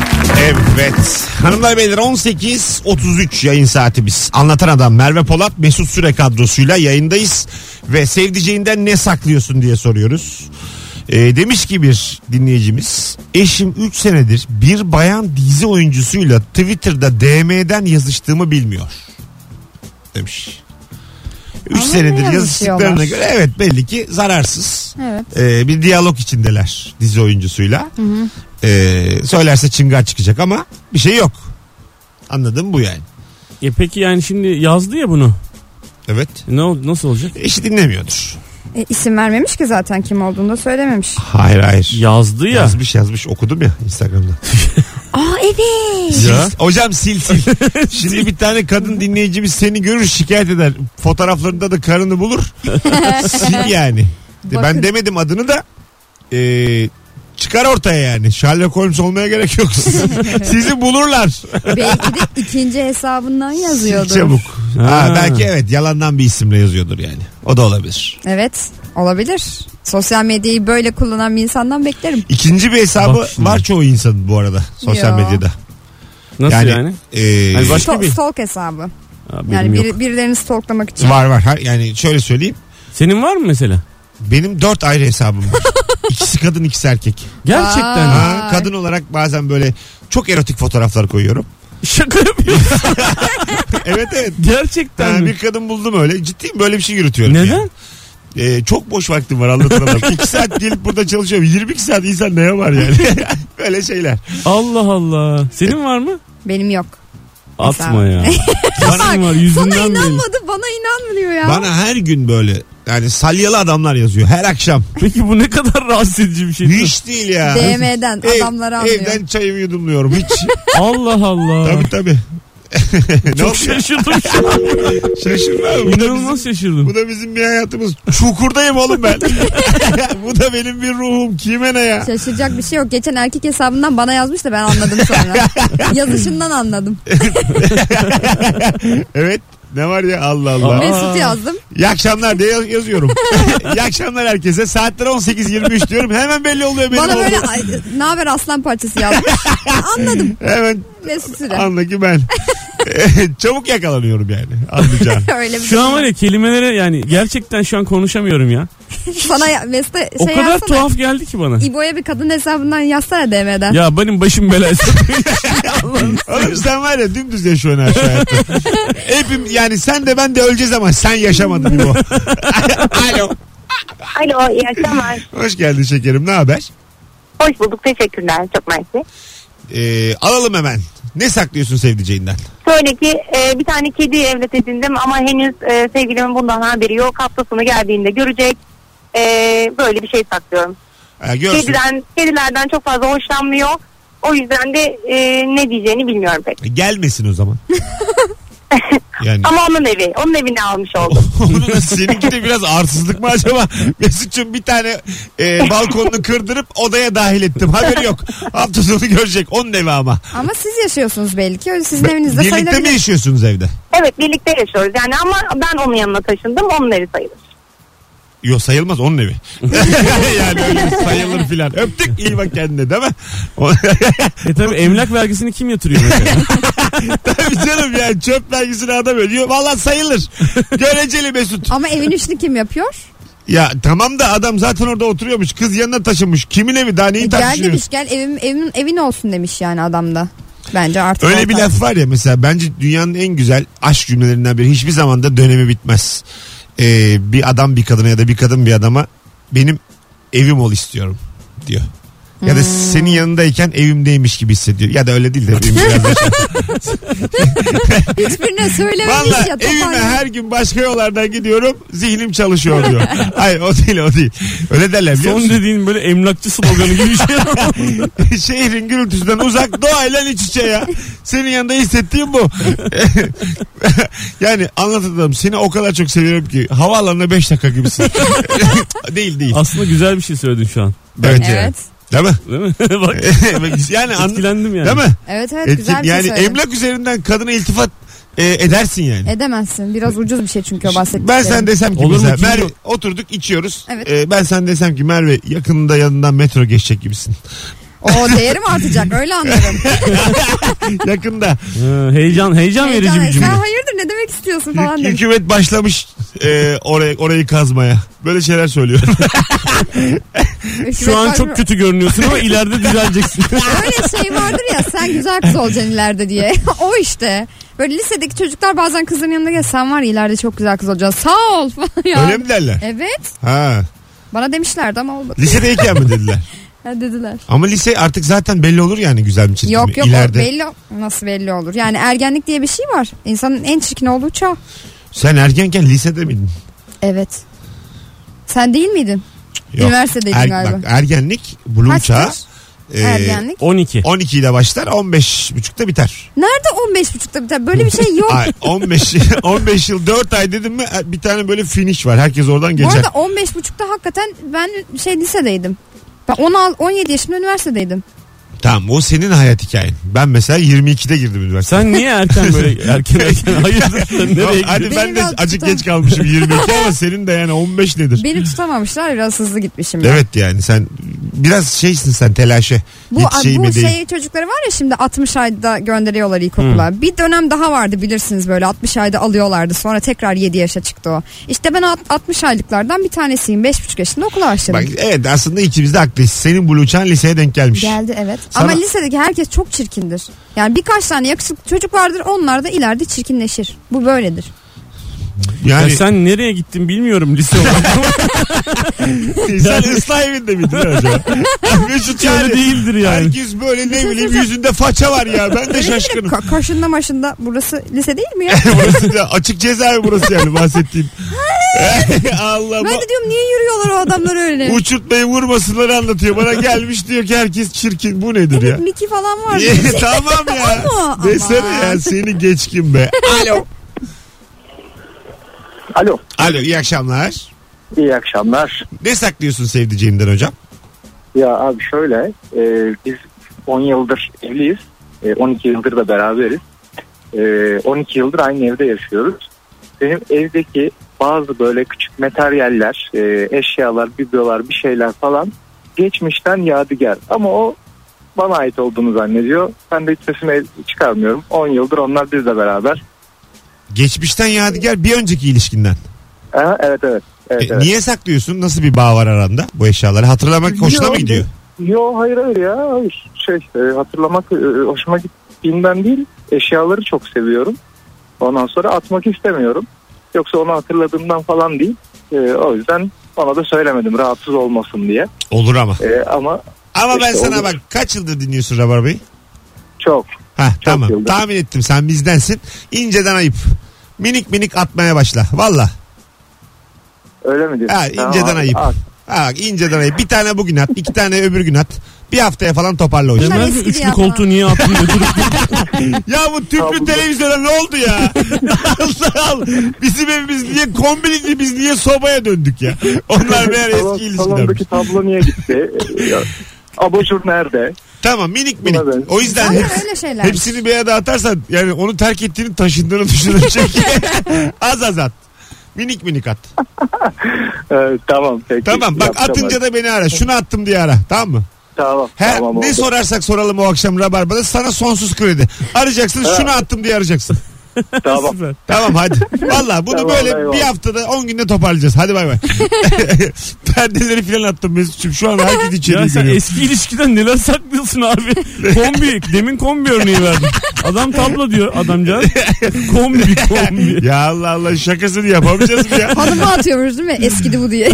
Speaker 2: evet. Hanımlar beyler 18.33 yayın saatimiz. Anlatan adam Merve Polat Mesut Süre kadrosuyla yayındayız. Ve sevdiceğinden ne saklıyorsun diye soruyoruz. Ee, demiş ki bir dinleyicimiz eşim 3 senedir bir bayan dizi oyuncusuyla Twitter'da DM'den yazıştığımı bilmiyor. Demiş. 3
Speaker 3: Ama
Speaker 2: senedir
Speaker 3: ne
Speaker 2: yazıştıklarına
Speaker 3: yazışıyorlar?
Speaker 2: göre evet belli ki zararsız.
Speaker 3: Evet.
Speaker 2: Ee, bir diyalog içindeler dizi oyuncusuyla. Ee, söylerse çıngar çıkacak ama bir şey yok. Anladım bu yani.
Speaker 4: e peki yani şimdi yazdı ya bunu. E
Speaker 2: Evet.
Speaker 4: Ne oldu nasıl olacak?
Speaker 2: Eşi dinlemiyordur.
Speaker 3: E, isim vermemiş ki zaten kim olduğunu da söylememiş.
Speaker 2: Hayır hayır.
Speaker 4: Yazdı ya.
Speaker 2: Yazmış yazmış okudum ya Instagram'da.
Speaker 3: Aa evet.
Speaker 2: Sil- Hocam sil [laughs] sil. Şimdi bir tane kadın dinleyicimiz seni görür şikayet eder. Fotoğraflarında da karını [laughs] bulur. sil yani. De- Ben
Speaker 3: Bakın.
Speaker 2: demedim adını da. Ee, çıkar ortaya yani. Sherlock Holmes olmaya gerek yok. [laughs] Sizi bulurlar.
Speaker 3: Belki de ikinci hesabından yazıyordu.
Speaker 2: Çabuk. Ha,
Speaker 4: Ha.
Speaker 2: belki evet yalandan bir isimle yazıyordur yani. O da olabilir.
Speaker 3: Evet olabilir. Sosyal medyayı böyle kullanan bir insandan beklerim.
Speaker 2: İkinci bir hesabı
Speaker 4: Bak şimdi.
Speaker 2: var çoğu insanın bu arada sosyal
Speaker 3: Ya.
Speaker 2: medyada.
Speaker 4: Nasıl yani?
Speaker 2: e,
Speaker 4: Yani baş- Başka
Speaker 3: Stalk,
Speaker 4: bir-
Speaker 3: stalk hesabı.
Speaker 4: Aa, benim
Speaker 3: Yani
Speaker 4: yok.
Speaker 3: bir, birilerini stalklamak için.
Speaker 2: var var. Ha, yani şöyle söyleyeyim.
Speaker 4: Senin var mı mesela?
Speaker 2: Benim dört ayrı hesabım var. ikisi kadın ikisi erkek.
Speaker 4: Gerçekten.
Speaker 3: Aa.
Speaker 2: Ha, kadın olarak bazen böyle çok erotik fotoğraflar koyuyorum.
Speaker 4: [laughs] Şaka yapıyorsun.
Speaker 2: evet evet.
Speaker 4: Gerçekten.
Speaker 2: Ha,
Speaker 4: [laughs] mi?
Speaker 2: bir kadın buldum öyle. Ciddiyim böyle bir şey yürütüyorum.
Speaker 4: Neden?
Speaker 2: yani. Ee, çok boş vaktim var anlatan
Speaker 4: [laughs]
Speaker 2: adam. 2 saat gelip burada çalışıyorum. 22 saat insan neye var yani? [laughs] Böyle şeyler.
Speaker 4: Allah Allah. Senin var mı?
Speaker 3: Benim yok. [laughs]
Speaker 4: Atma ya. Senin var
Speaker 3: Sana
Speaker 4: yüzünden mi?
Speaker 3: inanmadı bana inanmıyor ya.
Speaker 2: Bana her gün böyle yani salyalı adamlar yazıyor her akşam.
Speaker 4: Peki bu ne kadar rahatsız edici bir şey.
Speaker 2: Hiç değil ya.
Speaker 3: DM'den
Speaker 2: Ev-
Speaker 3: adamları anlıyor.
Speaker 2: Evden çayımı yudumluyorum
Speaker 3: [laughs]
Speaker 2: hiç.
Speaker 4: Allah Allah.
Speaker 2: tabii tabii. [laughs] ne
Speaker 4: Çok
Speaker 2: oldu?
Speaker 4: şaşırdım şu an.
Speaker 2: Şaşırma abi. Bu da bizim-
Speaker 4: İnanılmaz şaşırdım.
Speaker 2: Bu da bizim bir hayatımız. Çukurdayım oğlum
Speaker 3: [laughs]
Speaker 2: ben. Bu da benim bir ruhum. Kime ne ya?
Speaker 3: Şaşıracak bir şey yok. Geçen erkek hesabından bana yazmış da ben anladım
Speaker 4: [laughs]
Speaker 3: sonra. Yazışından anladım.
Speaker 2: Evet. Ne var ya Allah Allah.
Speaker 4: Aa.
Speaker 3: Mesut yazdım.
Speaker 2: İyi akşamlar diye yaz-
Speaker 3: [laughs]
Speaker 2: yazıyorum. İyi akşamlar herkese. Saatler 18.23 diyorum. Hemen belli oluyor benim
Speaker 3: bana
Speaker 2: olduğum.
Speaker 3: böyle "Ay, ne haber aslan parçası yazmış. anladım
Speaker 2: Hemen
Speaker 3: Mesut Süre.
Speaker 2: anla ki
Speaker 3: [laughs]
Speaker 2: ben. Çabuk yakalanıyorum yani. Anlayacağın.
Speaker 3: Öyle bir
Speaker 4: Şu an var ya kelimelere yani gerçekten şu an konuşamıyorum ya.
Speaker 3: Sana ya- Mesut'a şey
Speaker 4: O kadar
Speaker 3: yazsana.
Speaker 4: tuhaf geldi ki bana.
Speaker 3: İbo'ya bir kadın hesabından yazsana DM'den.
Speaker 4: Ya benim başım belası.
Speaker 2: Oğlum sen var ya dümdüz yaşıyorsun her şey hayatta. Hepim yani sen de ben de öleceğiz ama sen yaşamadın gibi o. [laughs] Alo.
Speaker 7: Alo iyi akşamlar.
Speaker 2: Hoş geldin şekerim ne haber?
Speaker 7: Hoş bulduk teşekkürler çok mersi.
Speaker 2: Ee, alalım hemen. Ne saklıyorsun sevdiceğinden?
Speaker 7: Şöyle ki e, bir tane kedi evlat edindim ama henüz e, sevgilimin bundan haberi yok. Hafta sonu geldiğinde görecek. E, böyle bir şey saklıyorum.
Speaker 2: Ha, görsün.
Speaker 7: Kediden, kedilerden çok fazla hoşlanmıyor. O yüzden de e, ne diyeceğini bilmiyorum pek.
Speaker 2: E, Gelmesin o
Speaker 3: [laughs]
Speaker 2: zaman. Yani [laughs]
Speaker 7: Ama onun evi. Onun evini almış oldum.
Speaker 2: Onun da seninki de biraz arsızlık mı acaba? Mesut'cum bir tane e, balkonunu kırdırıp odaya dahil ettim. Haberi yok. Hafta sonu görecek. Onun evi ama.
Speaker 3: Ama siz yaşıyorsunuz belli ki. Öyle sizin evinizde
Speaker 2: Birlikte mi
Speaker 3: sayılabilir.
Speaker 2: yaşıyorsunuz evde?
Speaker 7: evet birlikte yaşıyoruz yani ama ben onun yanına taşındım. Onun evi sayılır.
Speaker 2: Yok sayılmaz onun evi. [laughs] yani öyle sayılır filan. Öptük iyi bak kendine değil mi? O- [laughs]
Speaker 4: e tabi emlak vergisini kim yatırıyor mesela?
Speaker 2: Tabii canım yani çöp vergisini adam ödüyor. Valla sayılır. Göreceli Mesut.
Speaker 3: Ama evin üçlü kim yapıyor?
Speaker 2: Ya tamam da adam zaten orada oturuyormuş. Kız yanına taşınmış. Kimin evi daha neyi
Speaker 3: gel
Speaker 2: tartışıyorsun?
Speaker 3: E, demiş gel evim, evim, evin olsun demiş yani adam da. Bence artık.
Speaker 2: Öyle bir
Speaker 3: ortak.
Speaker 2: laf var ya mesela bence dünyanın en güzel aşk cümlelerinden biri. Hiçbir zamanda dönemi bitmez. Ee, bir adam bir kadına ya da bir kadın bir adama benim evim ol istiyorum diyor. Ya da senin yanındayken evimdeymiş gibi hissediyor. Ya da öyle değil de benim biraz da şey.
Speaker 3: Hiçbirine söylememiş
Speaker 2: Valla
Speaker 3: ya.
Speaker 2: evime
Speaker 3: toparlan.
Speaker 2: her gün başka yollardan gidiyorum. Zihnim çalışıyor diyor. Hayır o değil o değil. Öyle derler biliyor
Speaker 4: Son
Speaker 2: musun?
Speaker 4: dediğin böyle emlakçı sloganı gibi
Speaker 2: [laughs]
Speaker 4: bir şey.
Speaker 2: Şehrin gürültüsünden uzak doğayla iç içe ya. Senin yanında hissettiğim bu. [laughs] yani anlatırdım seni o kadar çok seviyorum ki havaalanına 5 dakika gibisin. [laughs] değil değil.
Speaker 4: Aslında güzel bir şey söyledin şu an.
Speaker 2: Bence.
Speaker 3: Evet.
Speaker 2: Değil mi?
Speaker 4: Değil mi? [laughs] Bak
Speaker 2: [laughs] yani E, an-
Speaker 4: etkilendim yani.
Speaker 2: Değil mi?
Speaker 3: Evet evet
Speaker 2: Et-
Speaker 3: güzel bir
Speaker 2: E, yani
Speaker 3: şey söyledin.
Speaker 2: emlak üzerinden kadına iltifat e, edersin yani.
Speaker 3: Edemezsin. Biraz ucuz bir şey çünkü o bahsettiklerim.
Speaker 2: Ben sen desem ki
Speaker 4: Olur mu?
Speaker 2: mesela
Speaker 4: Kim
Speaker 2: Merve
Speaker 4: yok?
Speaker 2: oturduk içiyoruz.
Speaker 3: Evet.
Speaker 2: E, ben sen desem ki Merve yakında yanından metro geçecek gibisin. [laughs]
Speaker 3: O değerim artacak öyle anlarım.
Speaker 2: yakında.
Speaker 4: Ee, heyecan heyecan verici bir
Speaker 3: Heyecan-
Speaker 4: cümle.
Speaker 3: Sen hayırdır ne demek istiyorsun falan
Speaker 2: Hük-
Speaker 3: demiş.
Speaker 2: hükümet başlamış e, orayı, orayı kazmaya. Böyle şeyler
Speaker 3: [laughs]
Speaker 2: söylüyor.
Speaker 3: Hükümet
Speaker 4: Şu an
Speaker 3: var mı?
Speaker 4: çok kötü görünüyorsun ama ileride düzeleceksin.
Speaker 3: Öyle şey vardır ya sen güzel kız olacaksın ileride diye. [laughs] o işte. Böyle lisedeki çocuklar bazen kızın yanına gel sen var ya ileride çok güzel kız olacaksın. Sağ ol falan ya.
Speaker 2: Öyle mi derler?
Speaker 3: Evet.
Speaker 2: Ha.
Speaker 3: Bana demişlerdi ama olmadı.
Speaker 2: Lisedeyken mi dediler?
Speaker 3: Ha, dediler.
Speaker 2: Ama lise artık zaten belli olur yani güzel mi çirkin
Speaker 3: Yok
Speaker 2: mi?
Speaker 3: yok o
Speaker 2: İleride.
Speaker 3: belli nasıl belli olur. Yani ergenlik diye bir şey var. İnsanın en çirkin olduğu çağ.
Speaker 2: Sen ergenken lisede miydin?
Speaker 3: Evet. Sen değil miydin?
Speaker 2: Yok.
Speaker 3: Üniversitedeydin
Speaker 2: Er-
Speaker 3: galiba.
Speaker 2: bak, ergenlik bulum
Speaker 3: Kaçtır?
Speaker 2: çağı. e,
Speaker 3: ergenlik.
Speaker 2: [laughs]
Speaker 4: 12.
Speaker 2: 12 ile başlar 15 buçukta biter.
Speaker 3: Nerede 15 buçukta biter? Böyle bir
Speaker 2: [laughs]
Speaker 3: şey yok.
Speaker 2: Ay, 15 15 yıl 4 ay dedim mi e, bir tane böyle finish var. Herkes oradan
Speaker 3: Bu
Speaker 2: geçer.
Speaker 3: arada 15 buçukta hakikaten ben şey lisedeydim. Ben 16, 17 yaşımda üniversitedeydim.
Speaker 2: Tamam o senin hayat hikayen. Ben mesela 22'de girdim üniversiteye.
Speaker 4: Sen niye erken böyle erken erken hayırdır sen nereye gidiyorsun?
Speaker 2: Hadi ben
Speaker 3: Benim
Speaker 2: de
Speaker 3: biraz
Speaker 2: acık
Speaker 3: tutam-
Speaker 2: geç kalmışım 22
Speaker 3: [laughs]
Speaker 2: ama senin de yani 15 nedir?
Speaker 3: Beni tutamamışlar biraz hızlı gitmişim. ben.
Speaker 2: Evet yani sen biraz şeysin sen telaşe.
Speaker 3: Bu,
Speaker 2: Hiç şey mi
Speaker 3: bu
Speaker 2: değil.
Speaker 3: şey çocukları var ya şimdi 60 ayda gönderiyorlar ilkokula. Bir dönem daha vardı bilirsiniz böyle 60 ayda alıyorlardı. Sonra tekrar 7 yaşa çıktı o. İşte ben alt- 60 aylıklardan bir tanesiyim. 5,5 yaşında okula başladım.
Speaker 2: Bak, evet aslında ikimiz de haklıyız. Senin bu uçan liseye denk gelmiş.
Speaker 3: Geldi evet.
Speaker 2: Sana-
Speaker 3: Ama lisedeki herkes çok çirkindir. Yani birkaç tane yakışıklı çocuk vardır onlar da ileride çirkinleşir. Bu böyledir.
Speaker 2: Yani sen,
Speaker 4: Ya sen nereye gittin bilmiyorum lise
Speaker 2: [laughs]
Speaker 4: olarak.
Speaker 2: ıslah evinde miydin
Speaker 4: [laughs]
Speaker 2: acaba? Mesut
Speaker 4: Hiç öyle
Speaker 2: yani.
Speaker 4: değildir yani.
Speaker 2: Herkes böyle ne bileyim yüzünde faça var ya. Ben de şaşkınım.
Speaker 3: Ko- koşunda maşında burası lise değil mi ya?
Speaker 2: [laughs] burası da açık cezaevi burası yani bahsettiğim. [laughs] Allah
Speaker 3: ben
Speaker 2: bu-
Speaker 3: de diyorum niye yürüyorlar o adamlar öyle?
Speaker 2: uçurtmayı vurmasınlar anlatıyor. Bana gelmiş diyor ki herkes çirkin. Bu nedir ya?
Speaker 3: Hani Mickey falan var.
Speaker 2: [laughs] tamam ya.
Speaker 3: Ama,
Speaker 2: Desene
Speaker 3: aman.
Speaker 2: ya seni geçkin be. Alo.
Speaker 6: Alo.
Speaker 2: Alo iyi akşamlar.
Speaker 6: İyi akşamlar.
Speaker 2: Ne saklıyorsun sevdiceğinden hocam?
Speaker 6: Ya abi şöyle e, biz 10 yıldır evliyiz. E, 12 yıldır da beraberiz. E, 12 yıldır aynı evde yaşıyoruz. Benim evdeki bazı böyle küçük materyaller, e, eşyalar, biblolar bir şeyler falan geçmişten yadigar. Ama o bana ait olduğunu zannediyor. Ben de hiç sesimi çıkarmıyorum. 10 yıldır onlar bizle beraber.
Speaker 2: Geçmişten yadigar bir önceki ilişkinden.
Speaker 6: Aha, evet evet. evet,
Speaker 2: E,
Speaker 6: evet.
Speaker 2: Niye saklıyorsun? Nasıl bir bağ var aranda bu eşyaları? Hatırlamak hoşuna mı
Speaker 6: Yok,
Speaker 2: gidiyor?
Speaker 6: Yo hayır hayır ya hayır. Şey e, hatırlamak e, hoşuma gittiğinden değil eşyaları çok seviyorum. Ondan sonra atmak istemiyorum. Yoksa onu hatırladığımdan falan değil. E, o yüzden ona da söylemedim rahatsız olmasın diye.
Speaker 2: Olur ama.
Speaker 6: E, ama
Speaker 2: Ama ben
Speaker 6: işte
Speaker 2: sana
Speaker 6: olur.
Speaker 2: bak kaç yıldır dinliyorsun Rabarba'yı?
Speaker 6: çok
Speaker 2: Ha tamam.
Speaker 6: yıldır.
Speaker 2: Tahmin ettim sen bizdensin. İnceden ayıp. Minik minik atmaya başla. Valla.
Speaker 6: öyle mi diyorsun?
Speaker 2: Ha,
Speaker 6: Tamam,
Speaker 2: inceden
Speaker 6: abi,
Speaker 2: ayıp.
Speaker 6: abi.
Speaker 2: Ha bak, inceden ayıp. Bir tane bugün at, iki tane öbür gün at. Bir haftaya falan toparla o işi.
Speaker 3: Bunlar
Speaker 4: Ömer
Speaker 3: eskidi
Speaker 4: üçlü
Speaker 3: ya
Speaker 4: koltuğu
Speaker 3: falan.
Speaker 2: [laughs]
Speaker 4: niye attın götürüp
Speaker 2: Ya bu tüplü
Speaker 6: Abi.
Speaker 2: televizyona ne oldu
Speaker 6: [laughs]
Speaker 2: ya? Allah Allah. Bizim evimiz niye kombinli biz niye sobaya döndük ya? Onlar meğer
Speaker 6: Salon-
Speaker 2: eski ilişkilermiş.
Speaker 6: Salondaki tablo niye gitti? E, ya, Abajur nerede?
Speaker 2: Tamam minik minik.
Speaker 6: Buna ben-
Speaker 2: O yüzden
Speaker 3: Zaten
Speaker 2: hep-
Speaker 3: öyle şeyler.
Speaker 2: hepsini bir yere atarsan yani onu terk ettiğini taşındığını düşünürsün.
Speaker 6: [laughs]
Speaker 2: az az at. Minik minik at.
Speaker 6: E, tamam peki.
Speaker 2: Tamam bak
Speaker 6: Yapacağım
Speaker 2: atınca
Speaker 6: abi.
Speaker 2: da beni ara. Şunu attım diye ara. Tamam mı?
Speaker 6: Tamam.
Speaker 2: Her
Speaker 6: tamam,
Speaker 2: ne
Speaker 6: oldu.
Speaker 2: sorarsak soralım o akşam Rabarba'da sana sonsuz kredi. Arayacaksın şunu attım diye arayacaksın.
Speaker 6: Tamam.
Speaker 4: süper.
Speaker 2: Tamam hadi. Valla bunu
Speaker 6: [laughs] Tamam,
Speaker 2: böyle bir
Speaker 6: eyvallah.
Speaker 2: haftada 10 günde toparlayacağız. Hadi
Speaker 6: [laughs]
Speaker 2: bay bay. Perdeleri filan attım Mesut'cum. Şu an herkes
Speaker 4: Ya
Speaker 2: içeri
Speaker 4: sen
Speaker 2: görüyor.
Speaker 4: eski ilişkiden neler saklıyorsun abi? Kombi. Demin kombi örneği verdim. Adam tablo diyor adamcağız. Kombi kombi.
Speaker 2: Ya Allah Allah şakasını yapamayacağız mı ya?
Speaker 3: Hanıma atıyormuş değil mi? Eskidi
Speaker 2: [laughs]
Speaker 3: bu diye.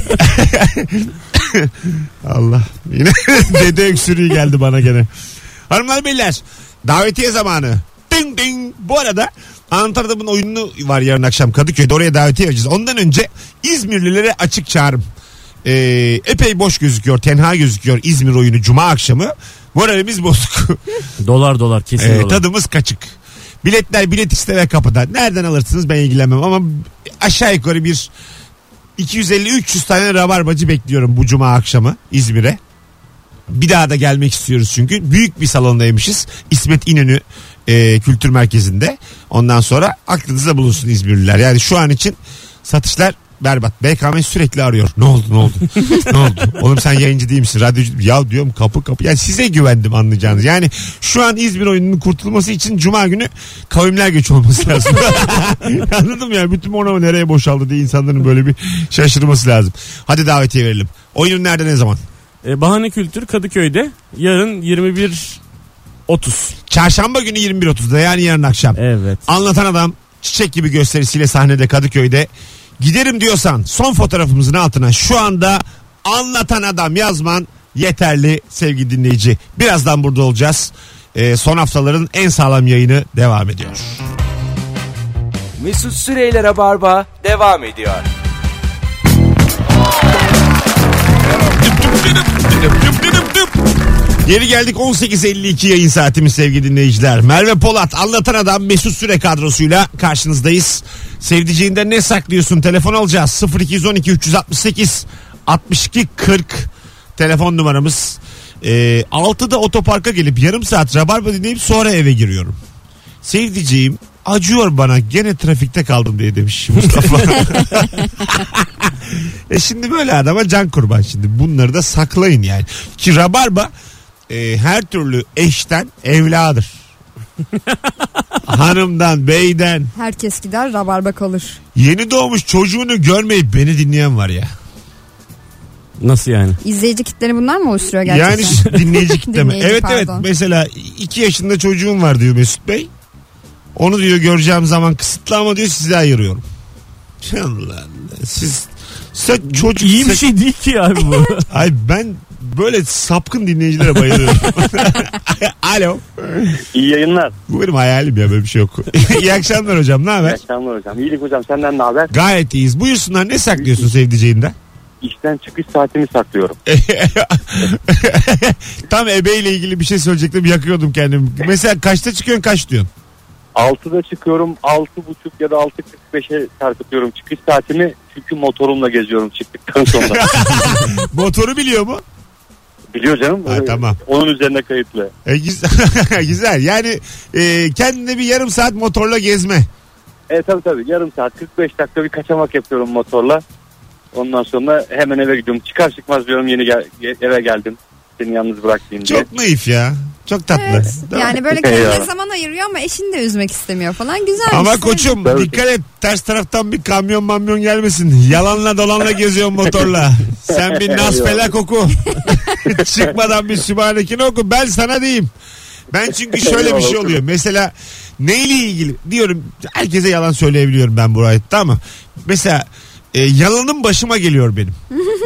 Speaker 2: Allah. Yine [laughs] dede öksürüğü geldi bana gene. Hanımlar beyler davetiye zamanı. Ding ding. Bu arada Antalya'da bunun oyunu var yarın akşam Kadıköy'de oraya davetiye vereceğiz. Ondan önce İzmirlilere açık çağrım. Ee, epey boş gözüküyor, tenha gözüküyor İzmir oyunu Cuma akşamı. Moralimiz bozuk.
Speaker 4: Dolar dolar kesin
Speaker 2: Ee,
Speaker 4: dolar.
Speaker 2: tadımız kaçık. Biletler bilet iste ve kapıda. Nereden alırsınız ben ilgilenmem ama aşağı yukarı bir 250-300 tane rabarbacı bekliyorum bu cuma akşamı İzmir'e. Bir daha da gelmek istiyoruz çünkü. Büyük bir salondaymışız. İsmet İnönü e, Kültür Merkezi'nde. Ondan sonra aklınızda bulunsun İzmirliler. Yani şu an için satışlar berbat. BKM sürekli arıyor. Ne oldu ne oldu? ne oldu? Oğlum sen yayıncı değil misin? Radyocu Ya diyorum kapı kapı. Yani size güvendim anlayacağınız. Yani şu an İzmir oyununun kurtulması için Cuma günü kavimler göç olması lazım. [laughs] Anladın mı ya? Bütün ona nereye boşaldı diye insanların böyle bir şaşırması lazım. Hadi davetiye verelim. Oyunun nerede ne zaman?
Speaker 4: Ee, Bahane Kültür Kadıköy'de yarın 21.30.
Speaker 2: Çarşamba günü 21.30'da yani yarın akşam.
Speaker 4: Evet.
Speaker 2: Anlatan adam çiçek gibi gösterisiyle sahnede Kadıköy'de. Giderim diyorsan son fotoğrafımızın altına şu anda anlatan adam yazman yeterli sevgili dinleyici. Birazdan burada olacağız. Ee, son haftaların en sağlam yayını devam ediyor.
Speaker 1: Mesut Süreyler'e barba devam ediyor.
Speaker 2: Geri geldik 18.52 yayın saatimiz sevgili dinleyiciler. Merve Polat anlatan adam Mesut Süre kadrosuyla karşınızdayız. Sevdiceğinden ne saklıyorsun? Telefon alacağız. 0212 368 62 40 telefon numaramız. Ee, 6'da otoparka gelip yarım saat rabarba dinleyip sonra eve giriyorum. Sevdiceğim acıyor bana gene trafikte kaldım diye demiş Mustafa. E şimdi böyle adama can kurban şimdi. Bunları da saklayın yani. Ki rabarba e, her türlü eşten
Speaker 3: [laughs]
Speaker 2: evladır. Hanımdan, beyden,
Speaker 3: Herkes gider rabarba kalır.
Speaker 2: yeni doğmuş çocuğunu görmeyip beni dinleyen var ya.
Speaker 4: Nasıl yani?
Speaker 3: İzleyici kitleri bunlar mı oluşturuyor gerçekten?
Speaker 2: Yani
Speaker 3: [laughs]
Speaker 2: dinleyici kitleme.
Speaker 3: Dinleyici,
Speaker 2: evet evet
Speaker 3: pardon.
Speaker 2: mesela 2 yaşında çocuğum var diyor Mesut Bey. Onu diyor göreceğim zaman kısıtlı ama diyor size ayırıyorum. Canım lan. Siz sen çocuk
Speaker 4: İyi bir
Speaker 2: sen-
Speaker 4: şey değil ki
Speaker 2: [laughs]
Speaker 4: abi bu.
Speaker 2: Ay ben böyle sapkın dinleyicilere bayılıyorum. Alo.
Speaker 6: İyi yayınlar.
Speaker 2: Bu benim hayalim ya böyle bir şey yok. [laughs] İyi akşamlar hocam ne
Speaker 6: İyi
Speaker 2: haber?
Speaker 6: akşamlar hocam. İyilik hocam senden ne haber?
Speaker 2: Gayet iyiyiz. Buyursunlar ne saklıyorsun sevdiceğinden? [laughs]
Speaker 6: İşten çıkış saatimi saklıyorum.
Speaker 2: Tam ebeyle ilgili bir şey söyleyecektim yakıyordum kendimi. Mesela kaçta çıkıyorsun kaç diyorsun? [laughs]
Speaker 6: 6'da çıkıyorum. 6.30 ya da 6.45'e sarkıtıyorum çıkış saatimi. Çünkü motorumla geziyorum
Speaker 2: [laughs]
Speaker 6: çıktıktan sonra.
Speaker 2: Motoru biliyor mu?
Speaker 6: Biliyor canım.
Speaker 2: Ha,
Speaker 6: Ee,
Speaker 2: tamam.
Speaker 6: Onun üzerine kayıtlı.
Speaker 2: E, güzel. [laughs] güzel. Yani e, kendine bir yarım saat motorla gezme.
Speaker 6: E tabii tabii yarım saat 45 dakika bir kaçamak yapıyorum motorla. Ondan sonra hemen eve gidiyorum. Çıkar çıkmaz diyorum yeni gel- eve geldim. Seni yalnız bırakayım diye.
Speaker 2: Çok naif ya. Çok tatlı.
Speaker 3: Evet.
Speaker 2: Değil mi?
Speaker 3: Yani böyle
Speaker 6: Eyvallah.
Speaker 3: kendine zaman ayırıyor ama eşini de üzmek istemiyor falan. Güzel.
Speaker 2: Ama koçum
Speaker 6: Tabii.
Speaker 2: dikkat et ters taraftan bir kamyon mamyon gelmesin. Yalanla dolanla geziyorsun motorla. Sen bir nasfelak oku. [laughs] Çıkmadan bir sübhanekini oku. Ben sana diyeyim. Ben çünkü şöyle bir şey oluyor. Mesela neyle ilgili diyorum herkese yalan söyleyebiliyorum ben bu hayatta ama mesela e, yalanım başıma geliyor benim.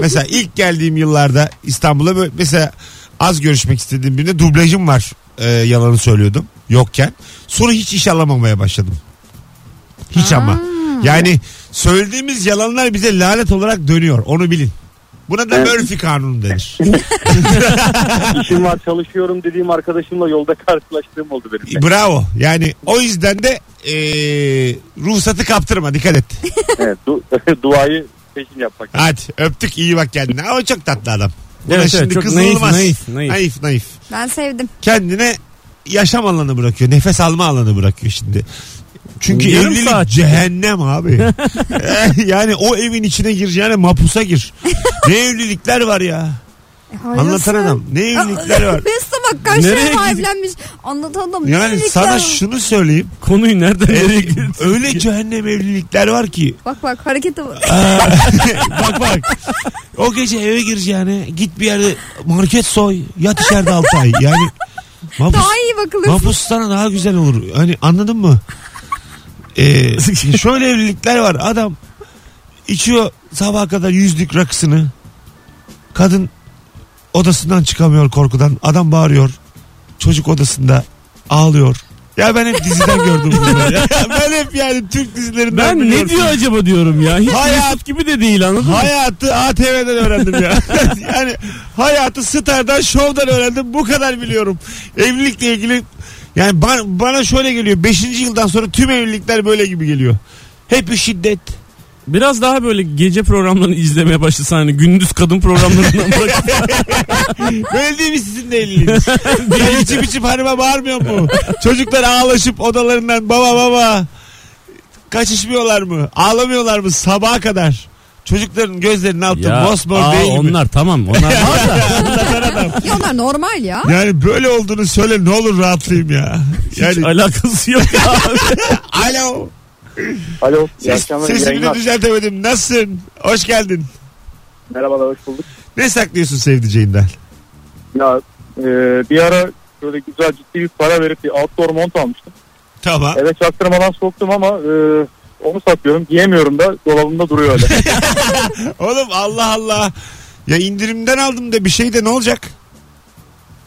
Speaker 2: mesela ilk geldiğim yıllarda İstanbul'a böyle- mesela az görüşmek istediğim birine dublajım var e, yalanı söylüyordum yokken. Sonra hiç iş alamamaya başladım. Hiç ama. Yani söylediğimiz yalanlar bize lanet olarak dönüyor. Onu bilin. Buna da
Speaker 6: Evet.
Speaker 2: Murphy kanunu denir.
Speaker 6: İşim var çalışıyorum dediğim arkadaşımla yolda karşılaştığım oldu benim. de.
Speaker 2: Bravo. Yani o yüzden de eee, ruhsatı kaptırma. Dikkat et.
Speaker 6: evet, du- [laughs] duayı peşin yapmak.
Speaker 2: Hadi öptük iyi bak kendine. Ama çok tatlı adam. Buna
Speaker 4: Evet, evet,
Speaker 2: şimdi
Speaker 4: çok
Speaker 2: kızılmaz.
Speaker 4: naif, naif, naif.
Speaker 2: naif, naif.
Speaker 3: Ben sevdim.
Speaker 2: Kendine yaşam alanı bırakıyor. Nefes alma alanı bırakıyor şimdi. Çünkü
Speaker 4: Yarım
Speaker 2: evlilik
Speaker 4: saat.
Speaker 2: cehennem
Speaker 4: [laughs]
Speaker 2: abi. yani o evin içine gireceğine mapusa
Speaker 4: [laughs]
Speaker 2: gir. ne evlilikler var ya.
Speaker 3: E, hayırlısı.
Speaker 2: Anlatan
Speaker 3: [laughs]
Speaker 2: adam. Ne evlilikler var.
Speaker 3: Beste bak karşıya
Speaker 4: Nereye
Speaker 3: sahiplenmiş. Anlatan adam. ne
Speaker 2: Yani
Speaker 3: evlilikler
Speaker 2: sana
Speaker 3: var.
Speaker 2: şunu söyleyeyim.
Speaker 4: Konuyu nereden nereye
Speaker 2: Ev-
Speaker 4: gidiyor?
Speaker 2: öyle cehennem evlilikler var ki.
Speaker 3: Bak bak harekete bak.
Speaker 2: [laughs] bak bak. O gece eve gireceğine git bir yerde market soy. Yat içeride 6 ay. Yani mapus,
Speaker 3: Daha iyi bakılır.
Speaker 2: mapus sana daha güzel olur. Hani anladın mı?
Speaker 4: [laughs]
Speaker 2: Ee, şöyle evlilikler var. Adam içiyor sabaha kadar yüzlük rakısını. Kadın odasından çıkamıyor korkudan. Adam bağırıyor. Çocuk odasında ağlıyor. Ya ben hep diziden gördüm
Speaker 4: [laughs]
Speaker 2: bunları. Ya ben hep yani Türk dizilerinden
Speaker 4: Ben
Speaker 2: biliyorum.
Speaker 4: ne diyor acaba diyorum ya. Hiç
Speaker 2: Hayat-
Speaker 4: Mesut gibi de değil anladın mı?
Speaker 2: Hayatı ATV'den öğrendim
Speaker 4: [laughs]
Speaker 2: ya. yani hayatı Star'dan, Show'dan öğrendim. Bu kadar biliyorum. Evlilikle ilgili yani ba- bana şöyle geliyor. 5. yıldan sonra tüm evlilikler böyle gibi geliyor. Hep
Speaker 4: [laughs]
Speaker 2: şiddet.
Speaker 4: Biraz daha böyle gece programlarını izlemeye başlasan hani gündüz kadın programlarından [laughs] bırakıp
Speaker 2: Böyle değil mi sizin de
Speaker 4: [laughs]
Speaker 2: evliliğiniz? Ben içip içip hanıma bağırmıyor mu? Çocuklar ağlaşıp odalarından baba baba. Kaçışmıyorlar mı? Ağlamıyorlar mı sabaha kadar? Çocukların gözlerini attım.
Speaker 4: ya,
Speaker 2: Mosmor
Speaker 4: aa,
Speaker 2: değil mi?
Speaker 4: onlar tamam [laughs] onlar var da
Speaker 3: Ya onlar normal ya.
Speaker 2: Yani böyle olduğunu söyle ne olur rahatlayayım ya.
Speaker 4: hiç
Speaker 2: Yani
Speaker 4: alakası yok abi.
Speaker 2: alo.
Speaker 6: Alo. iyi
Speaker 2: Ses,
Speaker 6: akşamlar, iyi
Speaker 2: sesimi de
Speaker 6: yayınlar.
Speaker 2: düzeltemedim. Nasılsın? Hoş geldin.
Speaker 6: Merhabalar hoş bulduk.
Speaker 2: Ne saklıyorsun sevdiceğinden?
Speaker 6: Ya, e, bir ara şöyle güzel ciddi bir para verip bir outdoor mont almıştım.
Speaker 2: Tamam.
Speaker 6: Eve çaktırmadan soktum ama e, onu saklıyorum. Giyemiyorum da dolabımda duruyor
Speaker 2: [laughs]
Speaker 6: öyle.
Speaker 2: Oğlum Allah Allah. Ya indirimden aldım da bir şey de ne olacak?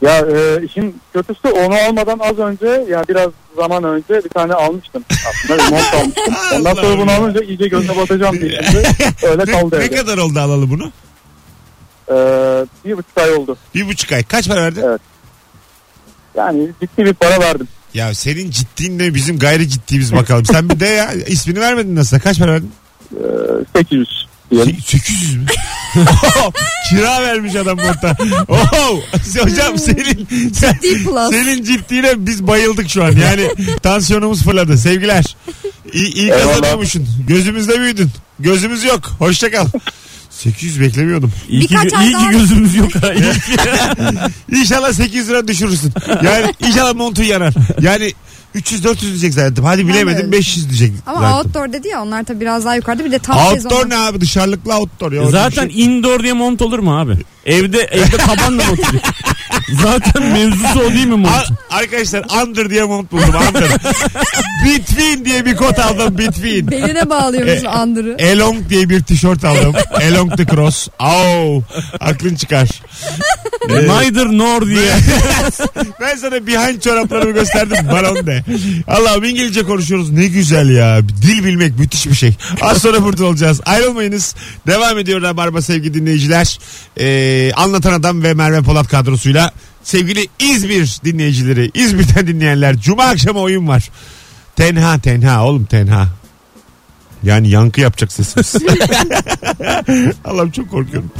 Speaker 6: Ya e, işin kötüsü onu almadan az önce ya biraz zaman önce bir tane almıştım. Aslında bir
Speaker 2: [laughs]
Speaker 6: mont almıştım. Ondan sonra bunu alınca iyice gözüne batacağım diye şimdi öyle
Speaker 2: Ne,
Speaker 6: kaldı
Speaker 2: ne
Speaker 6: evde.
Speaker 2: kadar oldu alalı bunu?
Speaker 6: E, bir buçuk ay oldu.
Speaker 2: Bir buçuk ay. Kaç para verdin?
Speaker 6: Evet. Yani ciddi bir para verdim.
Speaker 2: Ya senin ciddinle bizim gayri ciddimiz bakalım. Sen bir de ya ismini vermedin nasıl? Kaç para verdin?
Speaker 6: E, 800 diyelim.
Speaker 2: Se- 800 mü? Oh, Kira vermiş adam monta. Oh, hocam senin sen,
Speaker 3: Hmm. Ciddi plus.
Speaker 2: Senin ciddiyle biz bayıldık şu an. Yani tansiyonumuz fırladı. Sevgiler. İyi, iyi
Speaker 6: Eyvallah.
Speaker 2: kazanıyormuşsun. Gözümüzde büyüdün. Gözümüz yok. Hoşça kal. 800 beklemiyordum.
Speaker 4: [laughs] İyi ki,
Speaker 3: Birkaç ay
Speaker 4: iyi ki
Speaker 3: daha-
Speaker 4: gözümüz yok ha. iyi [laughs] ki.
Speaker 2: İnşallah 800 lira düşürürsün.
Speaker 3: [laughs]
Speaker 2: Yani inşallah montun yanar. Yani 300-400 diyecek zannettim. Hadi bilemedim
Speaker 3: öyle
Speaker 2: 500 diyecek
Speaker 3: Ama
Speaker 2: zannettim.
Speaker 3: outdoor dedi ya onlar tabii biraz daha yukarıda bir de tam
Speaker 2: Outdoor
Speaker 3: sezon.
Speaker 2: ne abi dışarılıklı outdoor ya. Orada bir
Speaker 4: Zaten
Speaker 2: şey-
Speaker 4: [laughs] indoor diye mont olur mu abi? Evde evde tabanla mont oluyor. Zaten mevzusu o değil mi mont?
Speaker 2: A- arkadaşlar under diye mont buldum under.
Speaker 3: [laughs]
Speaker 2: between diye bir kot aldım between. [laughs]
Speaker 3: Beline
Speaker 2: E.
Speaker 3: bağlıyormuş andırı.
Speaker 2: Elong diye bir tişört
Speaker 3: [laughs]
Speaker 2: aldım. Elong the cross. Au. Aklın çıkar.
Speaker 4: Neither nor diye.
Speaker 2: [laughs] Ben sana behind çoraplarımı gösterdim. Bana onu de. Allah'ım İngilizce konuşuyoruz. Ne güzel ya. Dil bilmek müthiş bir şey. Az sonra burada olacağız. Ayrılmayınız. Devam ediyor Rabarba sevgili dinleyiciler. Ee, Anlatan Adam ve Merve Polat kadrosuyla sevgili İzmir dinleyicileri. İzmir'den dinleyenler. Cuma akşamı oyun var. Tenha tenha oğlum tenha. Yani yankı yapacak sesimiz. Allah'ım çok korkuyorum.